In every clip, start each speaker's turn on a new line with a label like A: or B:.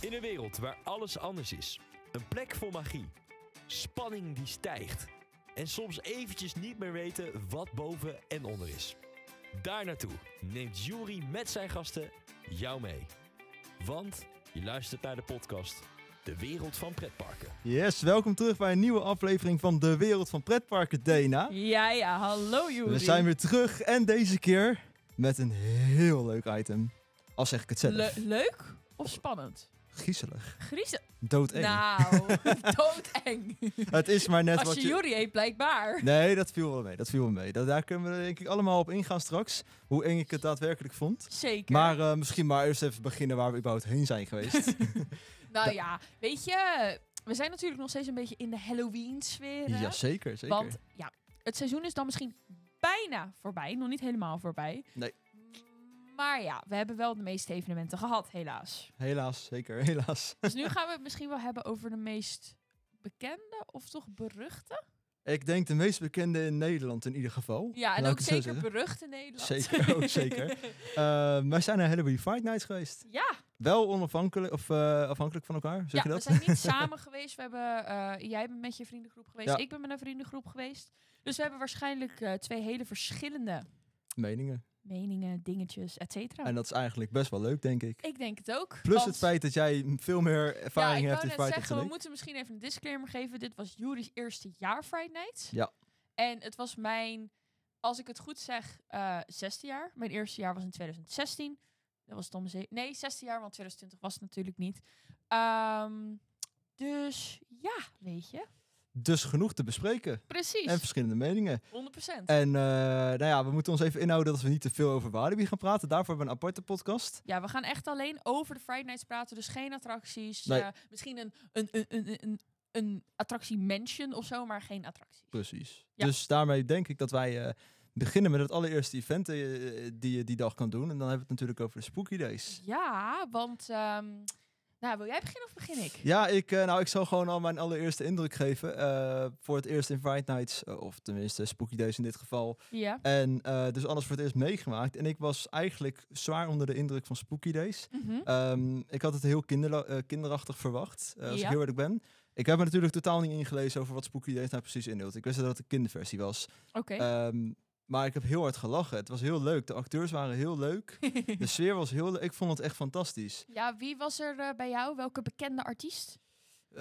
A: een wereld waar alles anders is. Een plek vol magie. Spanning die stijgt. En soms eventjes niet meer weten wat boven en onder is. Daar naartoe neemt Jury met zijn gasten jou mee. Want je luistert naar de podcast De Wereld van Pretparken.
B: Yes, welkom terug bij een nieuwe aflevering van De Wereld van Pretparken, Dena.
C: Ja, ja, hallo Juri.
B: We zijn weer terug en deze keer met een heel leuk item. Al zeg ik het zelf.
C: Le- leuk of spannend?
B: Griezelig.
C: Griezen.
B: Doodeng.
C: Nou, doodeng.
B: Het is maar net
C: Als
B: wat
C: je Juri eet, blijkbaar.
B: Nee, dat viel wel mee. Dat viel wel mee. Da- daar kunnen we denk ik allemaal op ingaan straks. Hoe eng ik het daadwerkelijk vond.
C: Zeker.
B: Maar eh, misschien maar eerst even beginnen waar we überhaupt heen zijn geweest.
C: nou ja, weet je, we zijn natuurlijk nog steeds een beetje in de Halloween-sfeer. hè?
B: Jazeker, zeker.
C: Want ja, het seizoen is dan misschien bijna voorbij. Nog niet helemaal voorbij.
B: Nee.
C: Maar ja, we hebben wel de meeste evenementen gehad, helaas.
B: Helaas, zeker, helaas.
C: Dus nu gaan we het misschien wel hebben over de meest bekende of toch beruchte?
B: Ik denk de meest bekende in Nederland in ieder geval.
C: Ja, en
B: Laat
C: ook
B: ik het zo
C: zeker
B: zeggen.
C: berucht in Nederland.
B: Zeker, ook zeker. Eh, wij zijn naar Halloween Fight Night geweest.
C: Ja,
B: Wel onafhankelijk of eh, afhankelijk van elkaar, zeg je
C: ja,
B: dat?
C: we zijn niet samen geweest. We hebben, eh, jij bent met je vriendengroep geweest.
B: Ja.
C: Ik ben met een vriendengroep geweest. Dus we hebben waarschijnlijk eh, twee hele verschillende
B: Meningen.
C: meningen, dingetjes, et cetera.
B: En dat is eigenlijk best wel leuk, denk ik.
C: Ik denk het ook.
B: Plus
C: want-
B: het feit dat jij veel meer ervaring
C: ja,
B: hebt
C: ik wou
B: in
C: net
B: Fight Night
C: zeggen,
B: dan
C: we
B: ik.
C: moeten misschien even een disclaimer geven. Dit was Juri's eerste jaar Friday Night.
B: Ja.
C: En het was mijn, als ik het goed zeg, eh zesde jaar. Mijn eerste jaar was in 2016. Dat was domme ze- Nee, zesde jaar, want 2020 was het natuurlijk niet. Ehm, dus ja, weet je.
B: Dus genoeg te bespreken.
C: Precies.
B: En verschillende meningen.
C: 100%.
B: En eh, nou ja, we moeten ons even inhouden dat we niet te veel over Walibi gaan praten. Daarvoor hebben we een aparte podcast.
C: Ja, we gaan echt alleen over de Friday Nights praten. Dus geen attracties.
B: Nee.
C: eh, misschien een, een, een, een, een, een attractie mention of zo, maar geen attracties.
B: Precies.
C: Ja.
B: Dus daarmee denk ik dat wij eh, beginnen met het allereerste event eh, die je die dag kan doen. En dan hebben we het natuurlijk over de Spooky Days.
C: Ja, want... ehm, nou, wil jij beginnen of begin ik?
B: Ja, ik, eh, nou, ik zal gewoon al mijn allereerste indruk geven. eh, voor het eerst in Fright Nights, eh, of tenminste Spooky Days in dit geval.
C: Ja.
B: En eh, dus alles voor het eerst meegemaakt. En ik was eigenlijk zwaar onder de indruk van Spooky Days.
C: Mhm.
B: Ehm, ik had het heel kinderla- eh, kinderachtig verwacht, eh, als
C: Ja.
B: ik heel eerlijk ben. Ik heb me natuurlijk totaal niet ingelezen over wat Spooky Days nou precies inhield. Ik wist dat het een kinderversie was.
C: Oké.
B: Ehm, maar ik heb heel hard gelachen. Het was heel leuk. De acteurs waren heel leuk. De sfeer was heel leuk. Ik vond het echt fantastisch.
C: ja, wie was er eh, bij jou? Welke bekende artiest?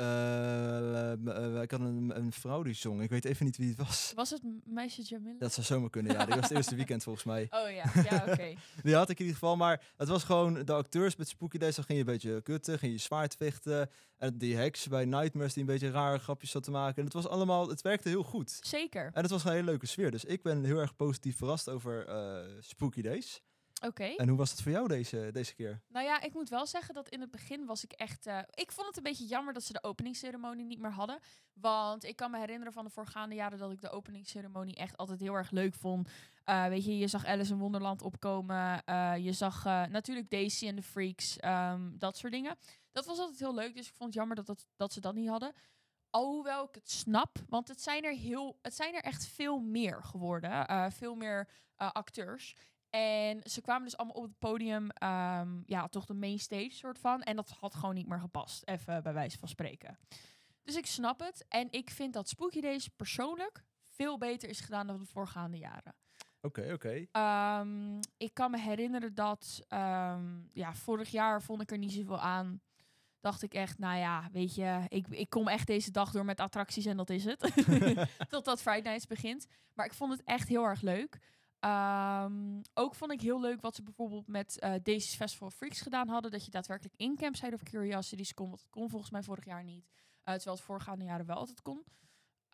B: Eh, m- eh, ik had een, een vrouw die zong. Ik weet even niet wie het was.
C: Was het m- meisje Jamila?
B: Dat zou zomaar kunnen, ja. Die was het eerste weekend volgens mij.
C: Oh ja, ja oké.
B: Die had ik in ieder geval. Maar het was gewoon de acteurs met Spooky Days. Dan ging je een beetje kutten, ging je zwaard vechten. En die heks bij Nightmares die een beetje rare grapjes zat te maken. En het was allemaal, het werkte heel goed.
C: Zeker.
B: En het was een hele leuke sfeer. Dus ik ben heel erg positief verrast over eh, Spooky Days.
C: Oké.
B: En hoe was het voor jou deze, deze keer?
C: Nou ja, ik moet wel zeggen dat in het begin was ik echt. eh, ik vond het een beetje jammer dat ze de openingsceremonie niet meer hadden. Want ik kan me herinneren van de voorgaande jaren dat ik de openingsceremonie echt altijd heel erg leuk vond. Eh, weet je, je zag Alice in Wonderland opkomen. eh, je zag eh, natuurlijk Daisy en de Freaks. ehm, dat soort dingen. Dat was altijd heel leuk. Dus ik vond het jammer dat, dat, dat ze dat niet hadden. Alhoewel ik het snap. Want het zijn er, heel, het zijn er echt veel meer geworden. eh, veel meer eh, acteurs. En ze kwamen dus allemaal op het podium, ehm, ja, toch de main stage soort van. En dat had gewoon niet meer gepast, even bij wijze van spreken. Dus ik snap het. En ik vind dat Spooky Days persoonlijk veel beter is gedaan dan de voorgaande jaren.
B: Oké, oké.
C: Ehm, ik kan me herinneren dat, ehm, ja, vorig jaar vond ik er niet zoveel aan. Dacht ik echt, nou ja, weet je, ik, ik kom echt deze dag door met attracties en dat is het. Totdat Friday Nights begint. Maar ik vond het echt heel erg leuk. Ehm, ook vond ik heel leuk wat ze bijvoorbeeld met eh Daisy's Festival of Freaks gedaan hadden. Dat je daadwerkelijk in Campsite of Curiosities kon. Want dat kon volgens mij vorig jaar niet. Eh, terwijl het voorgaande jaren wel altijd kon.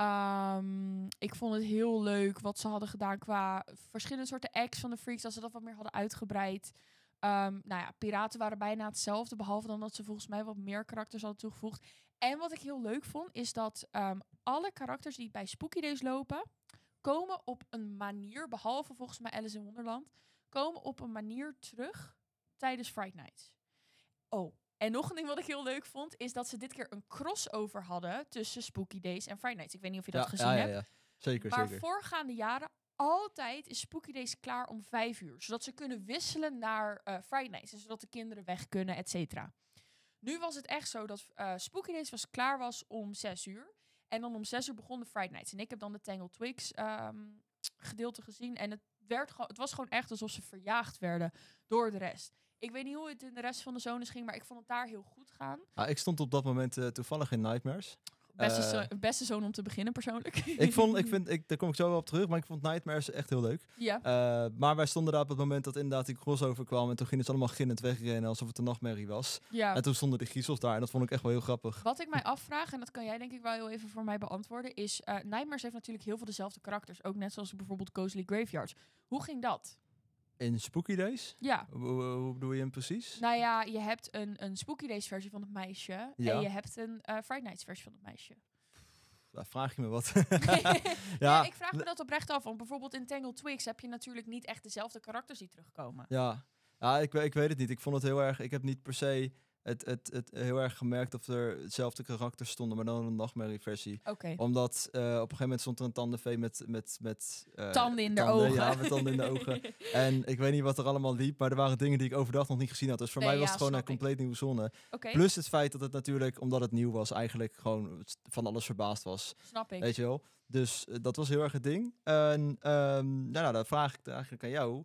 C: Ehm, ik vond het heel leuk wat ze hadden gedaan qua verschillende soorten acts van de Freaks. Dat ze dat wat meer hadden uitgebreid. Ehm, nou ja, piraten waren bijna hetzelfde. Behalve dan dat ze volgens mij wat meer karakters hadden toegevoegd. En wat ik heel leuk vond, is dat ehm, alle karakters die bij Spooky Days lopen, komen op een manier, behalve volgens mij Alice in Wonderland, komen op een manier terug tijdens Fright Nights. Oh, en nog een ding wat ik heel leuk vond, is dat ze dit keer een crossover hadden tussen Spooky Days en Fright Nights. Ik weet niet of je dat gezien
B: ja, ja,
C: hebt.
B: ja. Zeker,
C: Maar
B: zeker.
C: voorgaande jaren altijd is Spooky Days klaar om dus vijf uur. Zodat ze kunnen wisselen naar eh Friday Nights. en Zodat de kinderen weg kunnen, et cetera. Nu was het echt zo dat eh Spooky Days was, klaar was om 6 uur. En dan om 6 uur begon de Friday Nights. En ik heb dan de Tangle Twigs ehm, gedeelte gezien. En het, werd gewoon, het was gewoon echt alsof ze verjaagd werden door de rest. Ik weet niet hoe het in de rest van de zones ging, maar ik vond het daar heel goed gaan.
B: Ah, ik stond op dat moment eh, toevallig in Nightmares.
C: Beste,
B: Eh.
C: zo- beste zoon om te beginnen, persoonlijk.
B: ik vond, ik vind, ik, daar kom ik zo wel op terug, maar ik vond Nightmares echt heel leuk.
C: ja.
B: Eh, maar wij stonden daar op het moment dat inderdaad die crossover kwam. En toen gingen ze allemaal ginnend wegrennen alsof het een nachtmerrie was.
C: ja.
B: En toen stonden de griezels daar en dat vond ik echt wel heel grappig.
C: Wat ik mij afvraag, en dat kan jij denk ik wel heel even voor mij beantwoorden, is eh Nightmares heeft natuurlijk heel veel dezelfde karakters. Ook net zoals bijvoorbeeld Ghostly Graveyards. Hoe ging dat?
B: In Spooky Days?
C: Ja.
B: Hoe, hoe- hoe bedoel je hem precies?
C: Nou ja, je hebt een, een Spooky Days versie van het meisje.
B: Ja.
C: En je hebt een eh Friday Nights versie van het meisje.
B: Daar vraag je me wat.
C: ja, ik vraag me dat oprecht af. Want bijvoorbeeld in Tangle Twigs heb je natuurlijk niet echt dezelfde karakters die terugkomen.
B: Ja, ja ik, we- ik weet het niet. Ik vond het heel erg. Ik heb niet per se het, het, het heel erg gemerkt of er hetzelfde karakter stonden, maar dan een nachtmerrieversie.
C: Oké.
B: Omdat eh, op een gegeven moment stond er een tandenvee met. met, met eh,
C: Tanden in de
B: tanden,
C: ogen.
B: Ja, met tanden in de ogen. En ik weet niet wat er allemaal liep, maar er waren dingen die ik overdag nog niet gezien had. Dus voor
C: Nee,
B: mij was
C: ja,
B: het gewoon een
C: snap ik.
B: compleet nieuwe zone.
C: Oké,
B: Plus het feit dat het natuurlijk, omdat het nieuw was, eigenlijk gewoon van alles verbaasd was.
C: snap ik.
B: Weet je wel? Dus eh, dat was heel erg het ding. En ehm, nou, nou, dan vraag ik eigenlijk aan jou.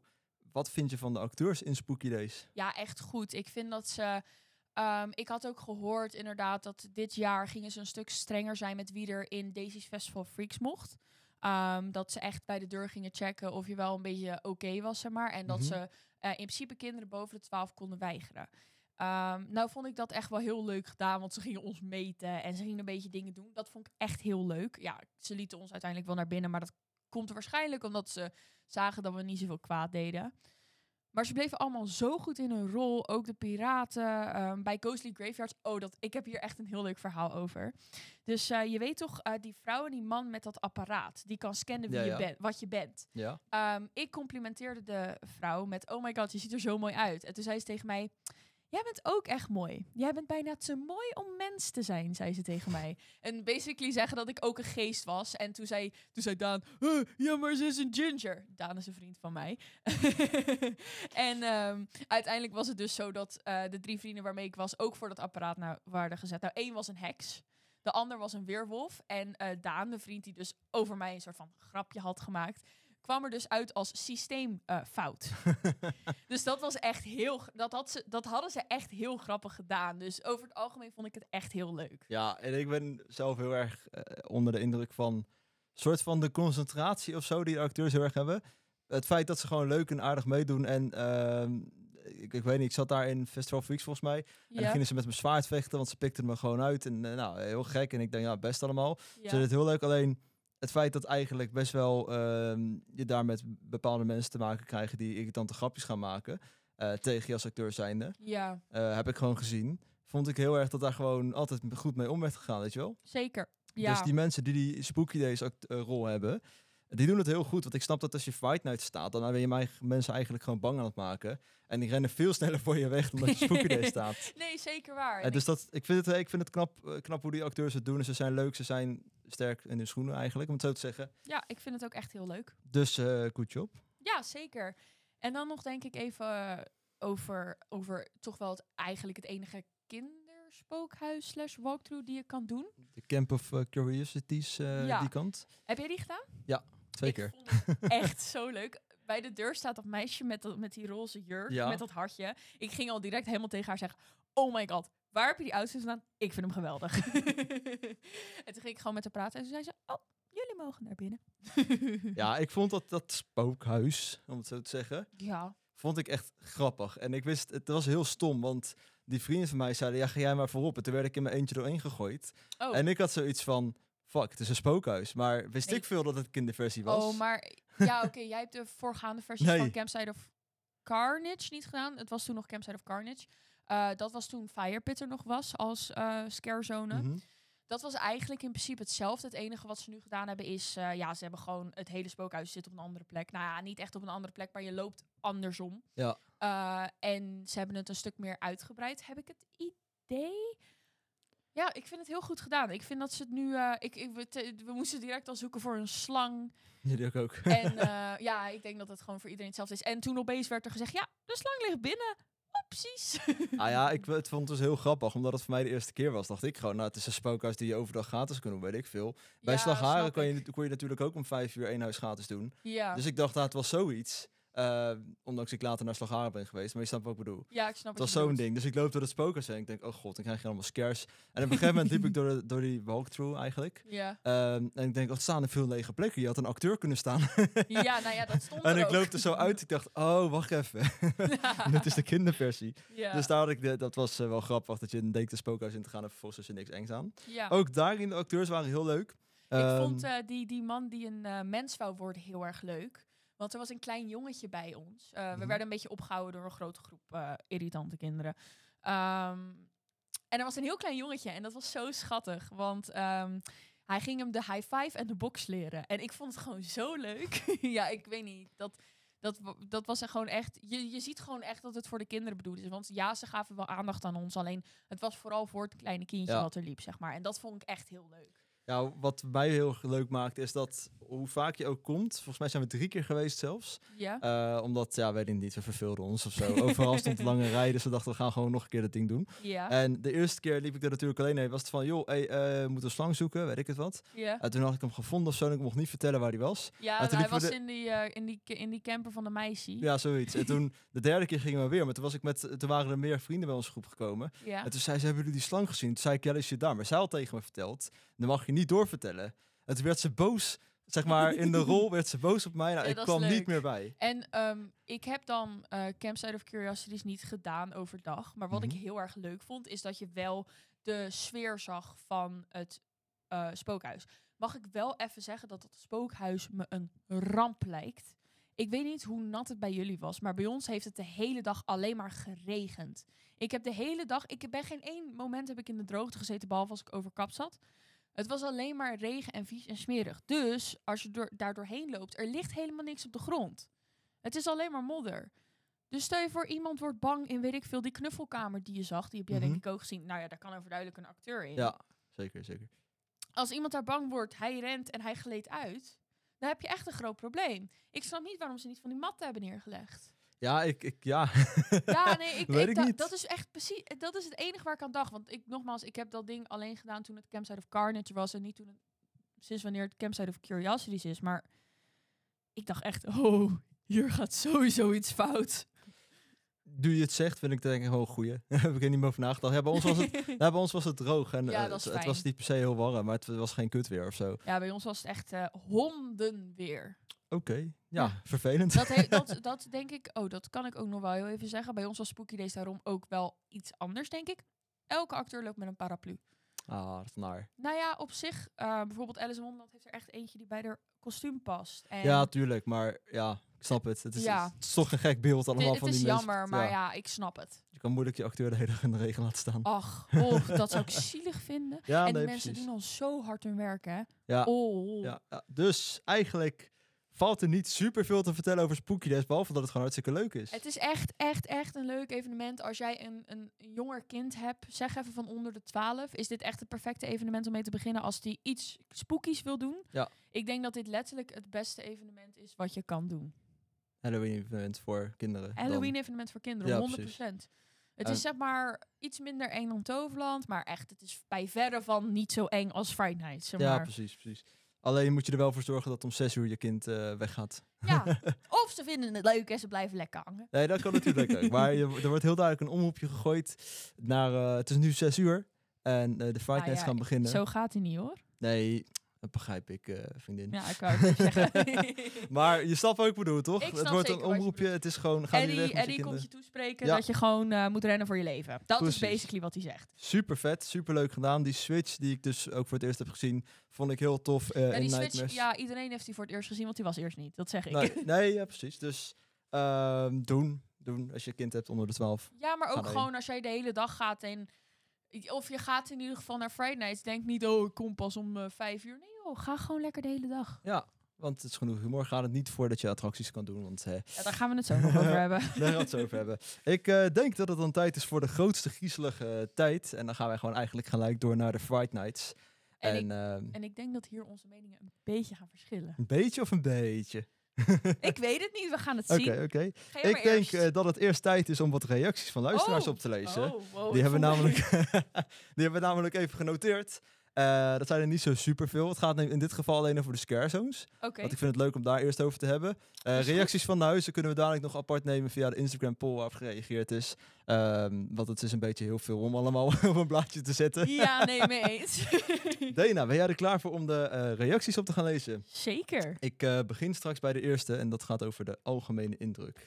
B: Wat vind je van de acteurs in Spooky Days?
C: Ja, echt goed. Ik vind dat ze. ehm, ik had ook gehoord inderdaad dat dit jaar gingen ze een stuk strenger zijn met wie er in Daisy's Festival Freaks mocht. Ehm, dat ze echt bij de deur gingen checken of je wel een beetje oké was, zeg maar. En dat
B: Mhm.
C: ze eh, in principe kinderen boven de 12 konden weigeren. Ehm, nou vond ik dat echt wel heel leuk gedaan, want ze gingen ons meten en ze gingen een beetje dingen doen. Dat vond ik echt heel leuk. Ja, ze lieten ons uiteindelijk wel naar binnen, maar dat komt waarschijnlijk omdat ze zagen dat we niet zoveel kwaad deden. Maar ze bleven allemaal zo goed in hun rol. Ook de piraten. ehm, bij Ghostly Graveyards. Oh, dat, ik heb hier echt een heel leuk verhaal over. Dus eh, je weet toch, eh, die vrouw en die man met dat apparaat. Die kan scannen wie
B: Ja,
C: je
B: ja.
C: bent, wat je bent.
B: Ja.
C: Ehm, ik complimenteerde de vrouw met: Oh my god, je ziet er zo mooi uit. En toen zei ze tegen mij: Jij bent ook echt mooi. Jij bent bijna te mooi om mens te zijn, zei ze tegen mij. En basically zeggen dat ik ook een geest was. En toen zei, toen zei Daan: "Huh, Ja, maar ze is een ginger. Daan is een vriend van mij. en ehm, uiteindelijk was het dus zo dat eh, de drie vrienden waarmee ik was ook voor dat apparaat nou, waren gezet. Nou, één was een heks. De ander was een weerwolf. En eh, Daan, de vriend die dus over mij een soort van grapje had gemaakt, kwam er dus uit als systeemfout. dus dat was echt heel. gr- Dat, had ze, dat hadden ze echt heel grappig gedaan. Dus over het algemeen vond ik het echt heel leuk.
B: ja, en ik ben zelf heel erg eh, onder de indruk van soort van de concentratie of zo die de acteurs heel erg hebben. Het feit dat ze gewoon leuk en aardig meedoen. En ehm, ik, ik weet niet, ik zat daar in Festival Freaks volgens mij. En dan
C: Ja,
B: gingen ze met mijn zwaard vechten, want ze pikten me gewoon uit. En eh, nou, heel gek. En ik denk, ja, best allemaal.
C: ja.
B: Ze het heel leuk. Alleen het feit dat eigenlijk best wel ehm, je daar met bepaalde mensen te maken krijgen die irritante grapjes gaan maken. eh, tegen je als acteur zijnde.
C: Ja,
B: eh, heb ik gewoon gezien. Vond ik heel erg dat daar gewoon altijd m- goed mee om werd gegaan, weet je wel?
C: zeker. Ja.
B: Dus die mensen die die Spooky Days act- eh, rol hebben, die doen het heel goed. Want ik snap dat als je Fight Night staat, dan ben je mij- mensen eigenlijk gewoon bang aan het maken. En die rennen veel sneller voor je weg dan dat je Spooky Days staat.
C: Nee, zeker waar.
B: Eh, dus dat, ik vind het, ik vind het knap, eh, knap hoe die acteurs het doen. En ze zijn leuk, ze zijn sterk in hun schoenen eigenlijk, om het zo te zeggen.
C: Ja, ik vind het ook echt heel leuk.
B: Dus eh good job.
C: Ja, zeker. En dan nog denk ik even eh, over, over toch wel het, eigenlijk het enige kinderspookhuis slash walkthrough die je kan doen.
B: De Camp of eh, Curiosities, eh,
C: Ja.
B: die kant.
C: Heb jij die gedaan?
B: Twee
C: Ik
B: keer.
C: vond het echt zo leuk. Bij de deur staat dat meisje met, dat, met die roze jurk,
B: Ja.
C: met dat hartje. Ik ging al direct helemaal tegen haar zeggen... Oh my god, waar heb je die outfit vandaan? Ik vind hem geweldig. en toen ging ik gewoon met haar praten. En toen zei ze... Oh, jullie mogen naar binnen.
B: Ja, ik vond dat, dat spookhuis, om het zo te zeggen,
C: ja.
B: vond ik echt grappig. En ik wist, het was heel stom, want die vrienden van mij zeiden, ja, ga jij maar voorop. En toen werd ik in mijn eentje doorheen gegooid.
C: Oh.
B: En ik had zoiets van, fuck, het is een spookhuis. Maar wist
C: Nee.
B: ik veel dat het kinderversie was?
C: Oh, maar... Ja, oké. jij hebt de voorgaande versies
B: Nee.
C: van Campsite of Carnage niet gedaan. Het was toen nog Campsite of Carnage. Eh, dat was toen Firepit er nog was als eh scare zone.
B: Mhm.
C: dat was eigenlijk in principe hetzelfde. Het enige wat ze nu gedaan hebben is, eh, ja, ze hebben gewoon het hele spookhuis zit op een andere plek. Nou ja, niet echt op een andere plek, maar je loopt andersom.
B: Ja.
C: Eh, en ze hebben het een stuk meer uitgebreid, heb ik het idee. Ja, ik vind het heel goed gedaan. Ik vind dat ze het nu. eh, ik, ik, we, te- we moesten direct al zoeken voor een slang.
B: Jullie ook ook.
C: En eh, ja, ik denk dat het gewoon voor iedereen hetzelfde is. En toen opeens werd er gezegd: ja, de slang ligt binnen. precies.
B: Ah ja, ik het vond het dus heel grappig, omdat het voor mij de eerste keer was. Dacht ik gewoon, nou, het is een spookhuis die je overdag gratis kan doen, weet ik veel. Bij
C: Ja,
B: Slagharen
C: snap
B: kon
C: ik.
B: je, kon je natuurlijk ook om vijf uur één huis gratis doen.
C: Ja.
B: Dus ik dacht, nou, het was zoiets. Eh, ondanks ik later naar Slagharen ben geweest, maar je snapt wat ik bedoel.
C: ja, ik snap
B: Het was
C: je
B: zo'n
C: bedoelt.
B: ding. Dus ik loop door het spookhuis en ik denk, oh god, dan krijg je allemaal scares. En op een gegeven moment liep ik door, de- door die walkthrough eigenlijk.
C: Ja.
B: Ehm, en ik denk, oh, er staan er veel lege plekken. Je had een acteur kunnen staan.
C: ja, nou ja, dat stond
B: en
C: er
B: ik
C: ook.
B: loop er zo uit. Ik dacht, oh, wacht even. Dit is de kinderversie.
C: Ja.
B: Dus daar had ik de- dat was eh, wel grappig dat je een date de spookhuis in te gaan en vervolgens is er niks engs aan.
C: ja.
B: Ook daarin de acteurs waren heel leuk.
C: Ik
B: Ehm,
C: vond eh, die, die man die een eh, mens wou worden heel erg leuk. Want er was een klein jongetje bij ons. Eh, We
B: Mhm.
C: werden een beetje opgehouden door een grote groep eh, irritante kinderen. Ehm, en er was een heel klein jongetje en dat was zo schattig. Want ehm, hij ging hem de high five en de box leren. En ik vond het gewoon zo leuk. ja, ik weet niet. Dat, dat, wa- dat was er gewoon echt. Je, je ziet gewoon echt dat het voor de kinderen bedoeld is. Want ja, ze gaven wel aandacht aan ons. Alleen het was vooral voor het kleine kindje
B: Ja.
C: wat er liep, zeg maar. En dat vond ik echt heel leuk.
B: ja, wat mij heel erg leuk maakt is dat hoe vaak je ook komt, volgens mij zijn we drie keer geweest zelfs.
C: Ja.
B: Eh, omdat, ja, weet ik niet, we verveelden ons of zo. Overal stond lange rijden, dus we dachten we gaan gewoon nog een keer dat ding doen.
C: Ja.
B: En de eerste keer liep ik er natuurlijk alleen heen. Was het van, joh, hey, eh, we moeten een slang zoeken, weet ik het wat.
C: Ja,
B: En toen had ik hem gevonden of zo en ik mocht niet vertellen waar hij was.
C: ja
B: Maar toen
C: hij
B: liepen we
C: was
B: de-
C: in, die, eh, in, die, in die camper van de meisje.
B: Ja, zoiets. En toen, de derde keer gingen we weer, maar toen, was ik met, toen waren er meer vrienden bij onze groep gekomen.
C: Ja.
B: En toen zei ze, hebben jullie die slang gezien? Toen zei ik, ja, die zit daar. Maar zij had tegen me verteld, dan mag je niet doorvertellen. En toen werd ze boos, zeg maar, in de rol werd ze boos op mij. Nou,
C: Ja,
B: ik
C: dat is
B: kwam niet
C: leuk.
B: meer bij.
C: En ehm, ik heb dan eh, Campsite of Curiosities niet gedaan overdag. Maar wat
B: Mhm.
C: ik heel erg leuk vond, is dat je wel de sfeer zag van het eh, spookhuis. Mag ik wel even zeggen dat dat spookhuis me een ramp lijkt? Ik weet niet hoe nat het bij jullie was, maar bij ons heeft het de hele dag alleen maar geregend. Ik heb de hele dag, ik ben geen één moment heb ik in de droogte gezeten, behalve als ik overkap zat. Het was alleen maar regen en vies en smerig. Dus als je door, daar doorheen loopt, er ligt helemaal niks op de grond. Het is alleen maar modder. Dus stel je voor, iemand wordt bang in, weet ik veel, die knuffelkamer die je zag. Die heb jij
B: Mhm.
C: denk ik ook gezien. Nou ja, daar kan overduidelijk een acteur in.
B: Ja, zeker, zeker.
C: Als iemand daar bang wordt, hij rent en hij gleed uit. Dan heb je echt een groot probleem. Ik snap niet waarom ze niet van die matten hebben neergelegd.
B: Ja, ik, ik ja.
C: Ja, nee, ik,
B: Weet
C: ik
B: ik
C: da-
B: niet.
C: dat is echt precies. Dat is het enige waar ik aan dacht. Want ik, nogmaals, ik heb dat ding alleen gedaan toen het Campsite of Carnage was. En niet toen het, sinds wanneer het Campsite of Curiosities is. Maar ik dacht echt, oh, hier gaat sowieso iets fout.
B: Nu je het zegt, vind ik het denk ik wel een goeie. Daar heb ik er niet meer over nagedacht. Ja, bij ons was het, ja, bij ons was het droog en
C: Ja,
B: eh,
C: dat
B: het,
C: is
B: het
C: fijn.
B: was niet per se heel warm, maar het was geen kut weer of zo. Oké,
C: Ja, bij ons was het echt eh, honden weer.
B: ja,
C: Ja.
B: vervelend.
C: Dat, he- dat, dat denk ik, oh, dat kan ik ook nog wel heel even zeggen. Bij ons was Spooky Days daarom ook wel iets anders, denk ik. Elke acteur loopt met een paraplu.
B: Ah, dat is naar.
C: Nou ja, op zich, eh, bijvoorbeeld Alice in Wonderland heeft er echt eentje die bij haar kostuum past. En
B: Ja, tuurlijk, maar ja, ik snap het. Het is,
C: Ja.
B: het is toch een gek beeld
C: het,
B: allemaal
C: het
B: van die
C: is
B: mensen.
C: jammer, maar ja. ik snap het.
B: Je kan moeilijk je acteur de hele dag in de regen laten staan.
C: Ach, oh, dat zou ik zielig vinden.
B: Ja,
C: en die
B: nee,
C: mensen
B: precies.
C: doen al zo hard hun werk, hè.
B: Ja.
C: Oh.
B: Ja, ja. Dus eigenlijk valt er niet super veel te vertellen over Spooky Days, behalve dat het gewoon hartstikke leuk is.
C: Het is echt, echt, echt een leuk evenement. Als jij een, een een jonger kind hebt, zeg even van onder de 12. Is dit echt het perfecte evenement om mee te beginnen als die iets spookies wil doen?
B: Ja.
C: Ik denk dat dit letterlijk het beste evenement is wat je kan doen.
B: Halloween-event voor kinderen. dan.
C: Halloween evenement voor
B: Ja,
C: kinderen, 100%. Het
B: En-
C: is zeg maar iets minder eng dan Toverland, maar echt, het is bij verre van niet zo eng als Friday Night. Zeg
B: Ja,
C: maar.
B: precies, precies. Alleen moet je er wel voor zorgen dat om zes uur je kind eh, weggaat.
C: Ja, of ze vinden het leuk en ze blijven lekker hangen.
B: Nee, dat kan natuurlijk ook. Maar je, er wordt heel duidelijk een omroepje gegooid naar... eh, het is nu zes uur en eh, de Fright
C: Ah,
B: Nights
C: ja,
B: gaan beginnen.
C: Zo gaat hij niet hoor.
B: Nee, dat begrijp ik, eh, vriendin.
C: Ja, ik wou het even zeggen.
B: Maar je snapt wat ik bedoel, toch?
C: Ik
B: het
C: snap
B: wordt
C: zeker
B: een
C: wat je
B: omroepje,
C: bedoelt.
B: het is gewoon... Ga
C: Eddie,
B: weg met je
C: Eddie komt
B: kinderen.
C: je toespreken
B: Ja.
C: dat je gewoon eh, moet rennen voor je leven. Dat
B: Precies.
C: is basically wat hij zegt.
B: Super vet, super leuk gedaan. Die Switch die ik dus ook voor het eerst heb gezien, vond ik heel tof eh,
C: en
B: in
C: die
B: Nightmares.
C: switch, ja, iedereen heeft die voor het eerst gezien, want die was eerst niet. Dat zeg ik.
B: nee, nee, ja, precies. Dus ehm, doen, doen als je kind hebt onder de 12.
C: Ja, maar
B: Ga
C: ook
B: erin.
C: gewoon als jij de hele dag gaat en... Of je gaat in ieder geval naar Friday Nights. Denk niet, oh, ik kom pas om eh, vijf uur. Nee joh, ga gewoon lekker de hele dag.
B: Ja, want het is genoeg humor. Gaat het niet voor dat je attracties kan doen, want eh,
C: Ja, daar gaan we het zo nog over hebben.
B: daar gaan we het zo over hebben. Ik eh, denk dat het dan tijd is voor de grootste griezelige eh, tijd. En dan gaan wij gewoon eigenlijk gelijk door naar de Fright Nights.
C: En,
B: En,
C: ik,
B: ehm,
C: en ik denk dat hier onze meningen een beetje gaan verschillen.
B: een beetje of een beetje?
C: ik weet het niet, we gaan het
B: Oké,
C: zien.
B: oké.
C: Ga jij
B: Ik
C: maar
B: denk
C: eerst.
B: eh, dat het eerst tijd is om wat reacties van luisteraars
C: Oh.
B: op te lezen.
C: Oh, wow,
B: Die
C: ik
B: hebben,
C: voel me-
B: namelijk, die hebben namelijk even genoteerd. Eh, dat zijn er niet zo superveel. Het gaat in dit geval alleen over de scare zones.
C: Oké,
B: Want ik vind het leuk om daar eerst over te hebben. Eh,
C: Is goed.
B: reacties van de huizen kunnen we dadelijk nog apart nemen via de Instagram poll waarop gereageerd is. Ehm, want het is een beetje heel veel om allemaal op een blaadje te zetten.
C: ja, nee, mee eens.
B: Dana, ben jij er klaar voor om de eh, reacties op te gaan lezen?
C: Zeker.
B: Ik eh, begin straks bij de eerste en dat gaat over de algemene indruk.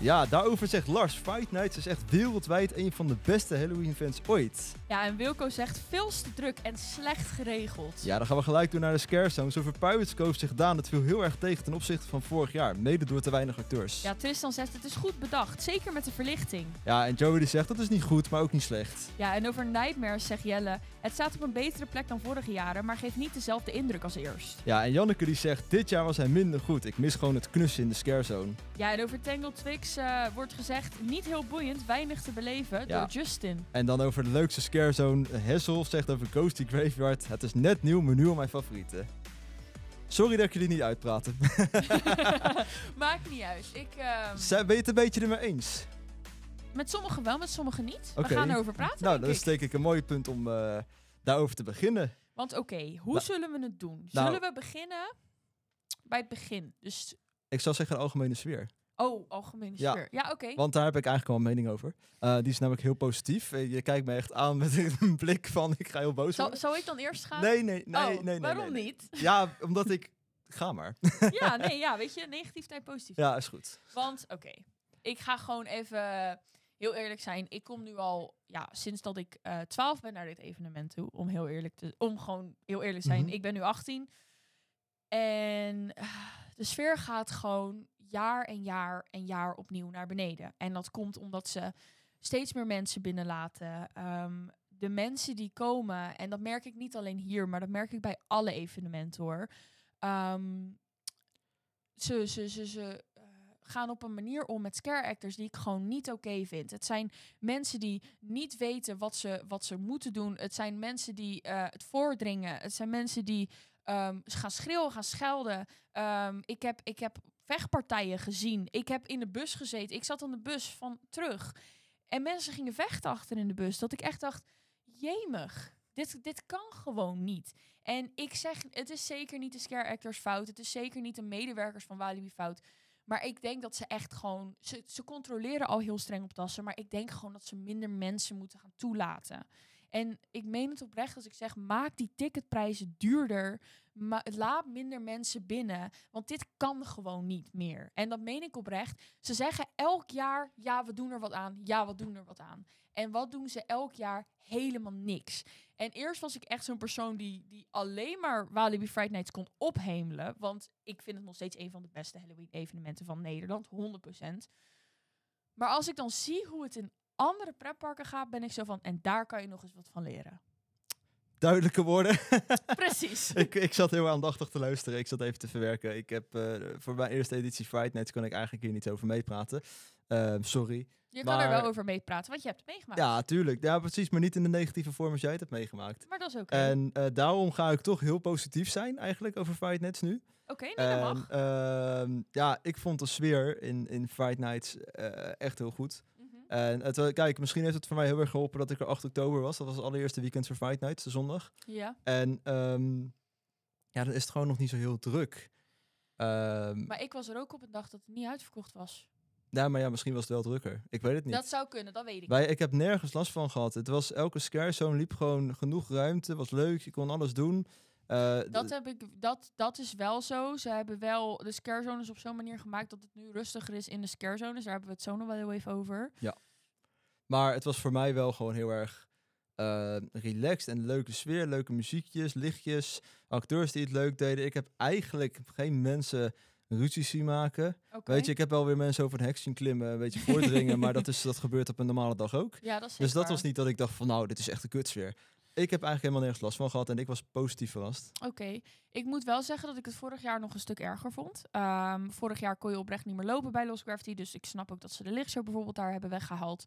B: Ja, daarover zegt Lars, Fight Nights is echt wereldwijd een van de beste Halloween-fans ooit.
C: Ja, en Wilco zegt veel te druk en slecht geregeld.
B: Ja, dan gaan we gelijk door naar de scare zone. Zo Pirates Cove zich Daan, het viel heel erg tegen ten opzichte van vorig jaar. Mede door te weinig acteurs.
C: Ja, Tristan zegt het is goed bedacht, zeker met de verlichting.
B: Ja, en Joey die zegt dat is niet goed, maar ook niet slecht.
C: Ja, en over Nightmares zegt Jelle, het staat op een betere plek dan vorige jaren, maar geeft niet dezelfde indruk als eerst.
B: Ja, en Janneke die zegt dit jaar was hij minder goed. Ik mis gewoon het knussen in de scare zone.
C: Ja, en over Tangled Twix eh, wordt gezegd, niet heel boeiend, weinig te beleven
B: Ja.
C: door Justin.
B: En dan over de leukste scare zone. Hessel zegt over Ghosty Graveyard. Het is net nieuw, maar nu al mijn favoriete. Sorry dat ik jullie niet uitpraten.
C: Oh. Maakt niet uit. Ik, ehm,
B: Zijn- Ben je het een beetje ermee eens?
C: met sommigen wel, met sommigen niet.
B: Oké.
C: We gaan erover praten,
B: nou,
C: denk
B: dat is
C: ik.
B: denk ik een mooi punt om eh, daarover te beginnen.
C: Want oké, hoe
B: Nou-
C: zullen we het doen?
B: Nou-
C: Zullen we beginnen bij het begin? Dus,
B: Ik zou zeggen de algemene sfeer.
C: oh, algemene
B: Ja.
C: sfeer. Ja, oké.
B: Want daar heb ik eigenlijk al een mening over. Eh, die is namelijk heel positief. Eh, Je kijkt me echt aan met een blik van ik ga heel boos
C: Zal,
B: worden.
C: zal ik dan eerst gaan?
B: Nee, nee, nee,
C: Oh,
B: nee, nee.
C: waarom
B: nee, nee.
C: niet?
B: Ja, omdat ik... Ga maar.
C: ja, nee, ja, weet je, negatief tijd positief.
B: Ja, is goed.
C: Want, oké, ik ga gewoon even heel eerlijk zijn. Ik kom nu al, ja, sinds dat ik eh 12 ben naar dit evenement toe, om heel eerlijk te, om gewoon heel eerlijk te zijn.
B: Mhm.
C: Ik ben nu 18 en ah, de sfeer gaat gewoon jaar en jaar en jaar opnieuw naar beneden. En dat komt omdat ze steeds meer mensen binnenlaten. Ehm, de mensen die komen, en dat merk ik niet alleen hier, maar dat merk ik bij alle evenementen hoor. Ehm, ze ze, ze, ze eh, gaan op een manier om met scare actors die ik gewoon niet oké vind. Het zijn mensen die niet weten wat ze, wat ze moeten doen. Het zijn mensen die eh, het voordringen. Het zijn mensen die ehm, s- gaan schreeuwen, gaan schelden. Ehm, ik, heb, ik heb vechtpartijen gezien. Ik heb in de bus gezeten. Ik zat aan de bus van terug. En mensen gingen vechten achter in de bus. Dat ik echt dacht, jemig. Dit, dit kan gewoon niet. En ik zeg, het is zeker niet de scare actors fout. Het is zeker niet de medewerkers van Walibi fout. Maar ik denk dat ze echt gewoon... Ze, ze controleren al heel streng op tassen. Maar ik denk gewoon dat ze minder mensen moeten gaan toelaten. En ik meen het oprecht als ik zeg... maak die ticketprijzen duurder. Ma laat minder mensen binnen. Want dit kan gewoon niet meer. En dat meen ik oprecht. Ze zeggen elk jaar... ja, we doen er wat aan. Ja, we doen er wat aan. En wat doen ze elk jaar? Helemaal niks. En eerst was ik echt zo'n persoon die, die alleen maar Walibi Friday Nights kon ophemelen. Want ik vind het nog steeds een van de beste Halloween-evenementen van Nederland, 100%. Maar als ik dan zie hoe het in andere pretparken gaat, ben ik zo van... En daar kan je nog eens wat van leren.
B: Duidelijke woorden.
C: Precies.
B: ik, ik zat heel aandachtig te luisteren. Ik zat even te verwerken. Ik heb eh, voor mijn eerste editie Friday Nights kon ik eigenlijk hier niet over meepraten. Ehm, sorry.
C: Je kan er
B: Maar-
C: wel over meepraten, want je hebt het meegemaakt.
B: Ja, tuurlijk. Ja, precies. Maar niet in de negatieve vorm als jij het hebt meegemaakt.
C: Maar dat is oké.
B: En eh, daarom ga ik toch heel positief zijn eigenlijk over Friday Nights nu.
C: Oké, nee, dat
B: En,
C: mag.
B: ehm, ja, ik vond de sfeer in, in Friday Nights eh, echt heel goed.
C: Mhm.
B: En het, eh, kijk, misschien heeft het voor mij heel erg geholpen dat ik er 8 oktober was. Dat was het allereerste weekend voor Friday Nights, de zondag.
C: Ja,
B: En ehm, ja, dan is het gewoon nog niet zo heel druk. Ehm,
C: maar ik was er ook op een dag dat het niet uitverkocht was.
B: ja, maar ja, misschien was het wel drukker. Ik weet het niet.
C: Dat zou kunnen, dat weet ik.
B: Wij, ik heb nergens last van gehad. Het was elke scare zone liep gewoon genoeg ruimte, was leuk, je kon alles doen. Eh,
C: Dat,
B: d-
C: heb ik, dat, dat is wel zo. Ze hebben wel de scare zones op zo'n manier gemaakt dat het nu rustiger is in de scare zones. Daar hebben we het zo nog wel heel even over.
B: maar het was voor mij wel gewoon heel erg eh, relaxed en leuke sfeer, leuke muziekjes, lichtjes, acteurs die het leuk deden. Ik heb eigenlijk geen mensen ruzie zien maken.
C: Oké.
B: Weet je, ik heb wel weer mensen over een heksje klimmen, een beetje voordringen, maar dat, is, dat gebeurt op een normale dag ook.
C: Ja, dat is
B: Dus
C: zeker
B: dat was
C: waar.
B: niet dat ik dacht van nou, dit is echt een kutsfeer. Ik heb eigenlijk helemaal nergens last van gehad en ik was positief verrast.
C: Oké, ik moet wel zeggen dat ik het vorig jaar nog een stuk erger vond. Ehm, vorig jaar kon je oprecht niet meer lopen bij Lost Gravity. Dus ik snap ook dat ze de lichtshow bijvoorbeeld daar hebben weggehaald.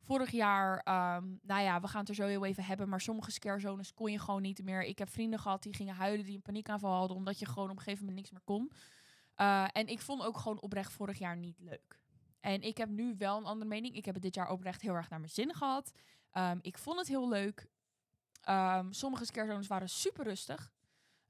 C: Vorig jaar, ehm, nou ja, we gaan het er zo heel even hebben, maar sommige scare zones kon je gewoon niet meer. Ik heb vrienden gehad die gingen huilen, die een paniekaanval hadden, omdat je gewoon op een gegeven moment niks meer kon. Eh, en ik vond ook gewoon oprecht vorig jaar niet leuk. En ik heb nu wel een andere mening. Ik heb het dit jaar oprecht heel erg naar mijn zin gehad. Ehm, ik vond het heel leuk. Ehm, sommige scare zones waren super rustig.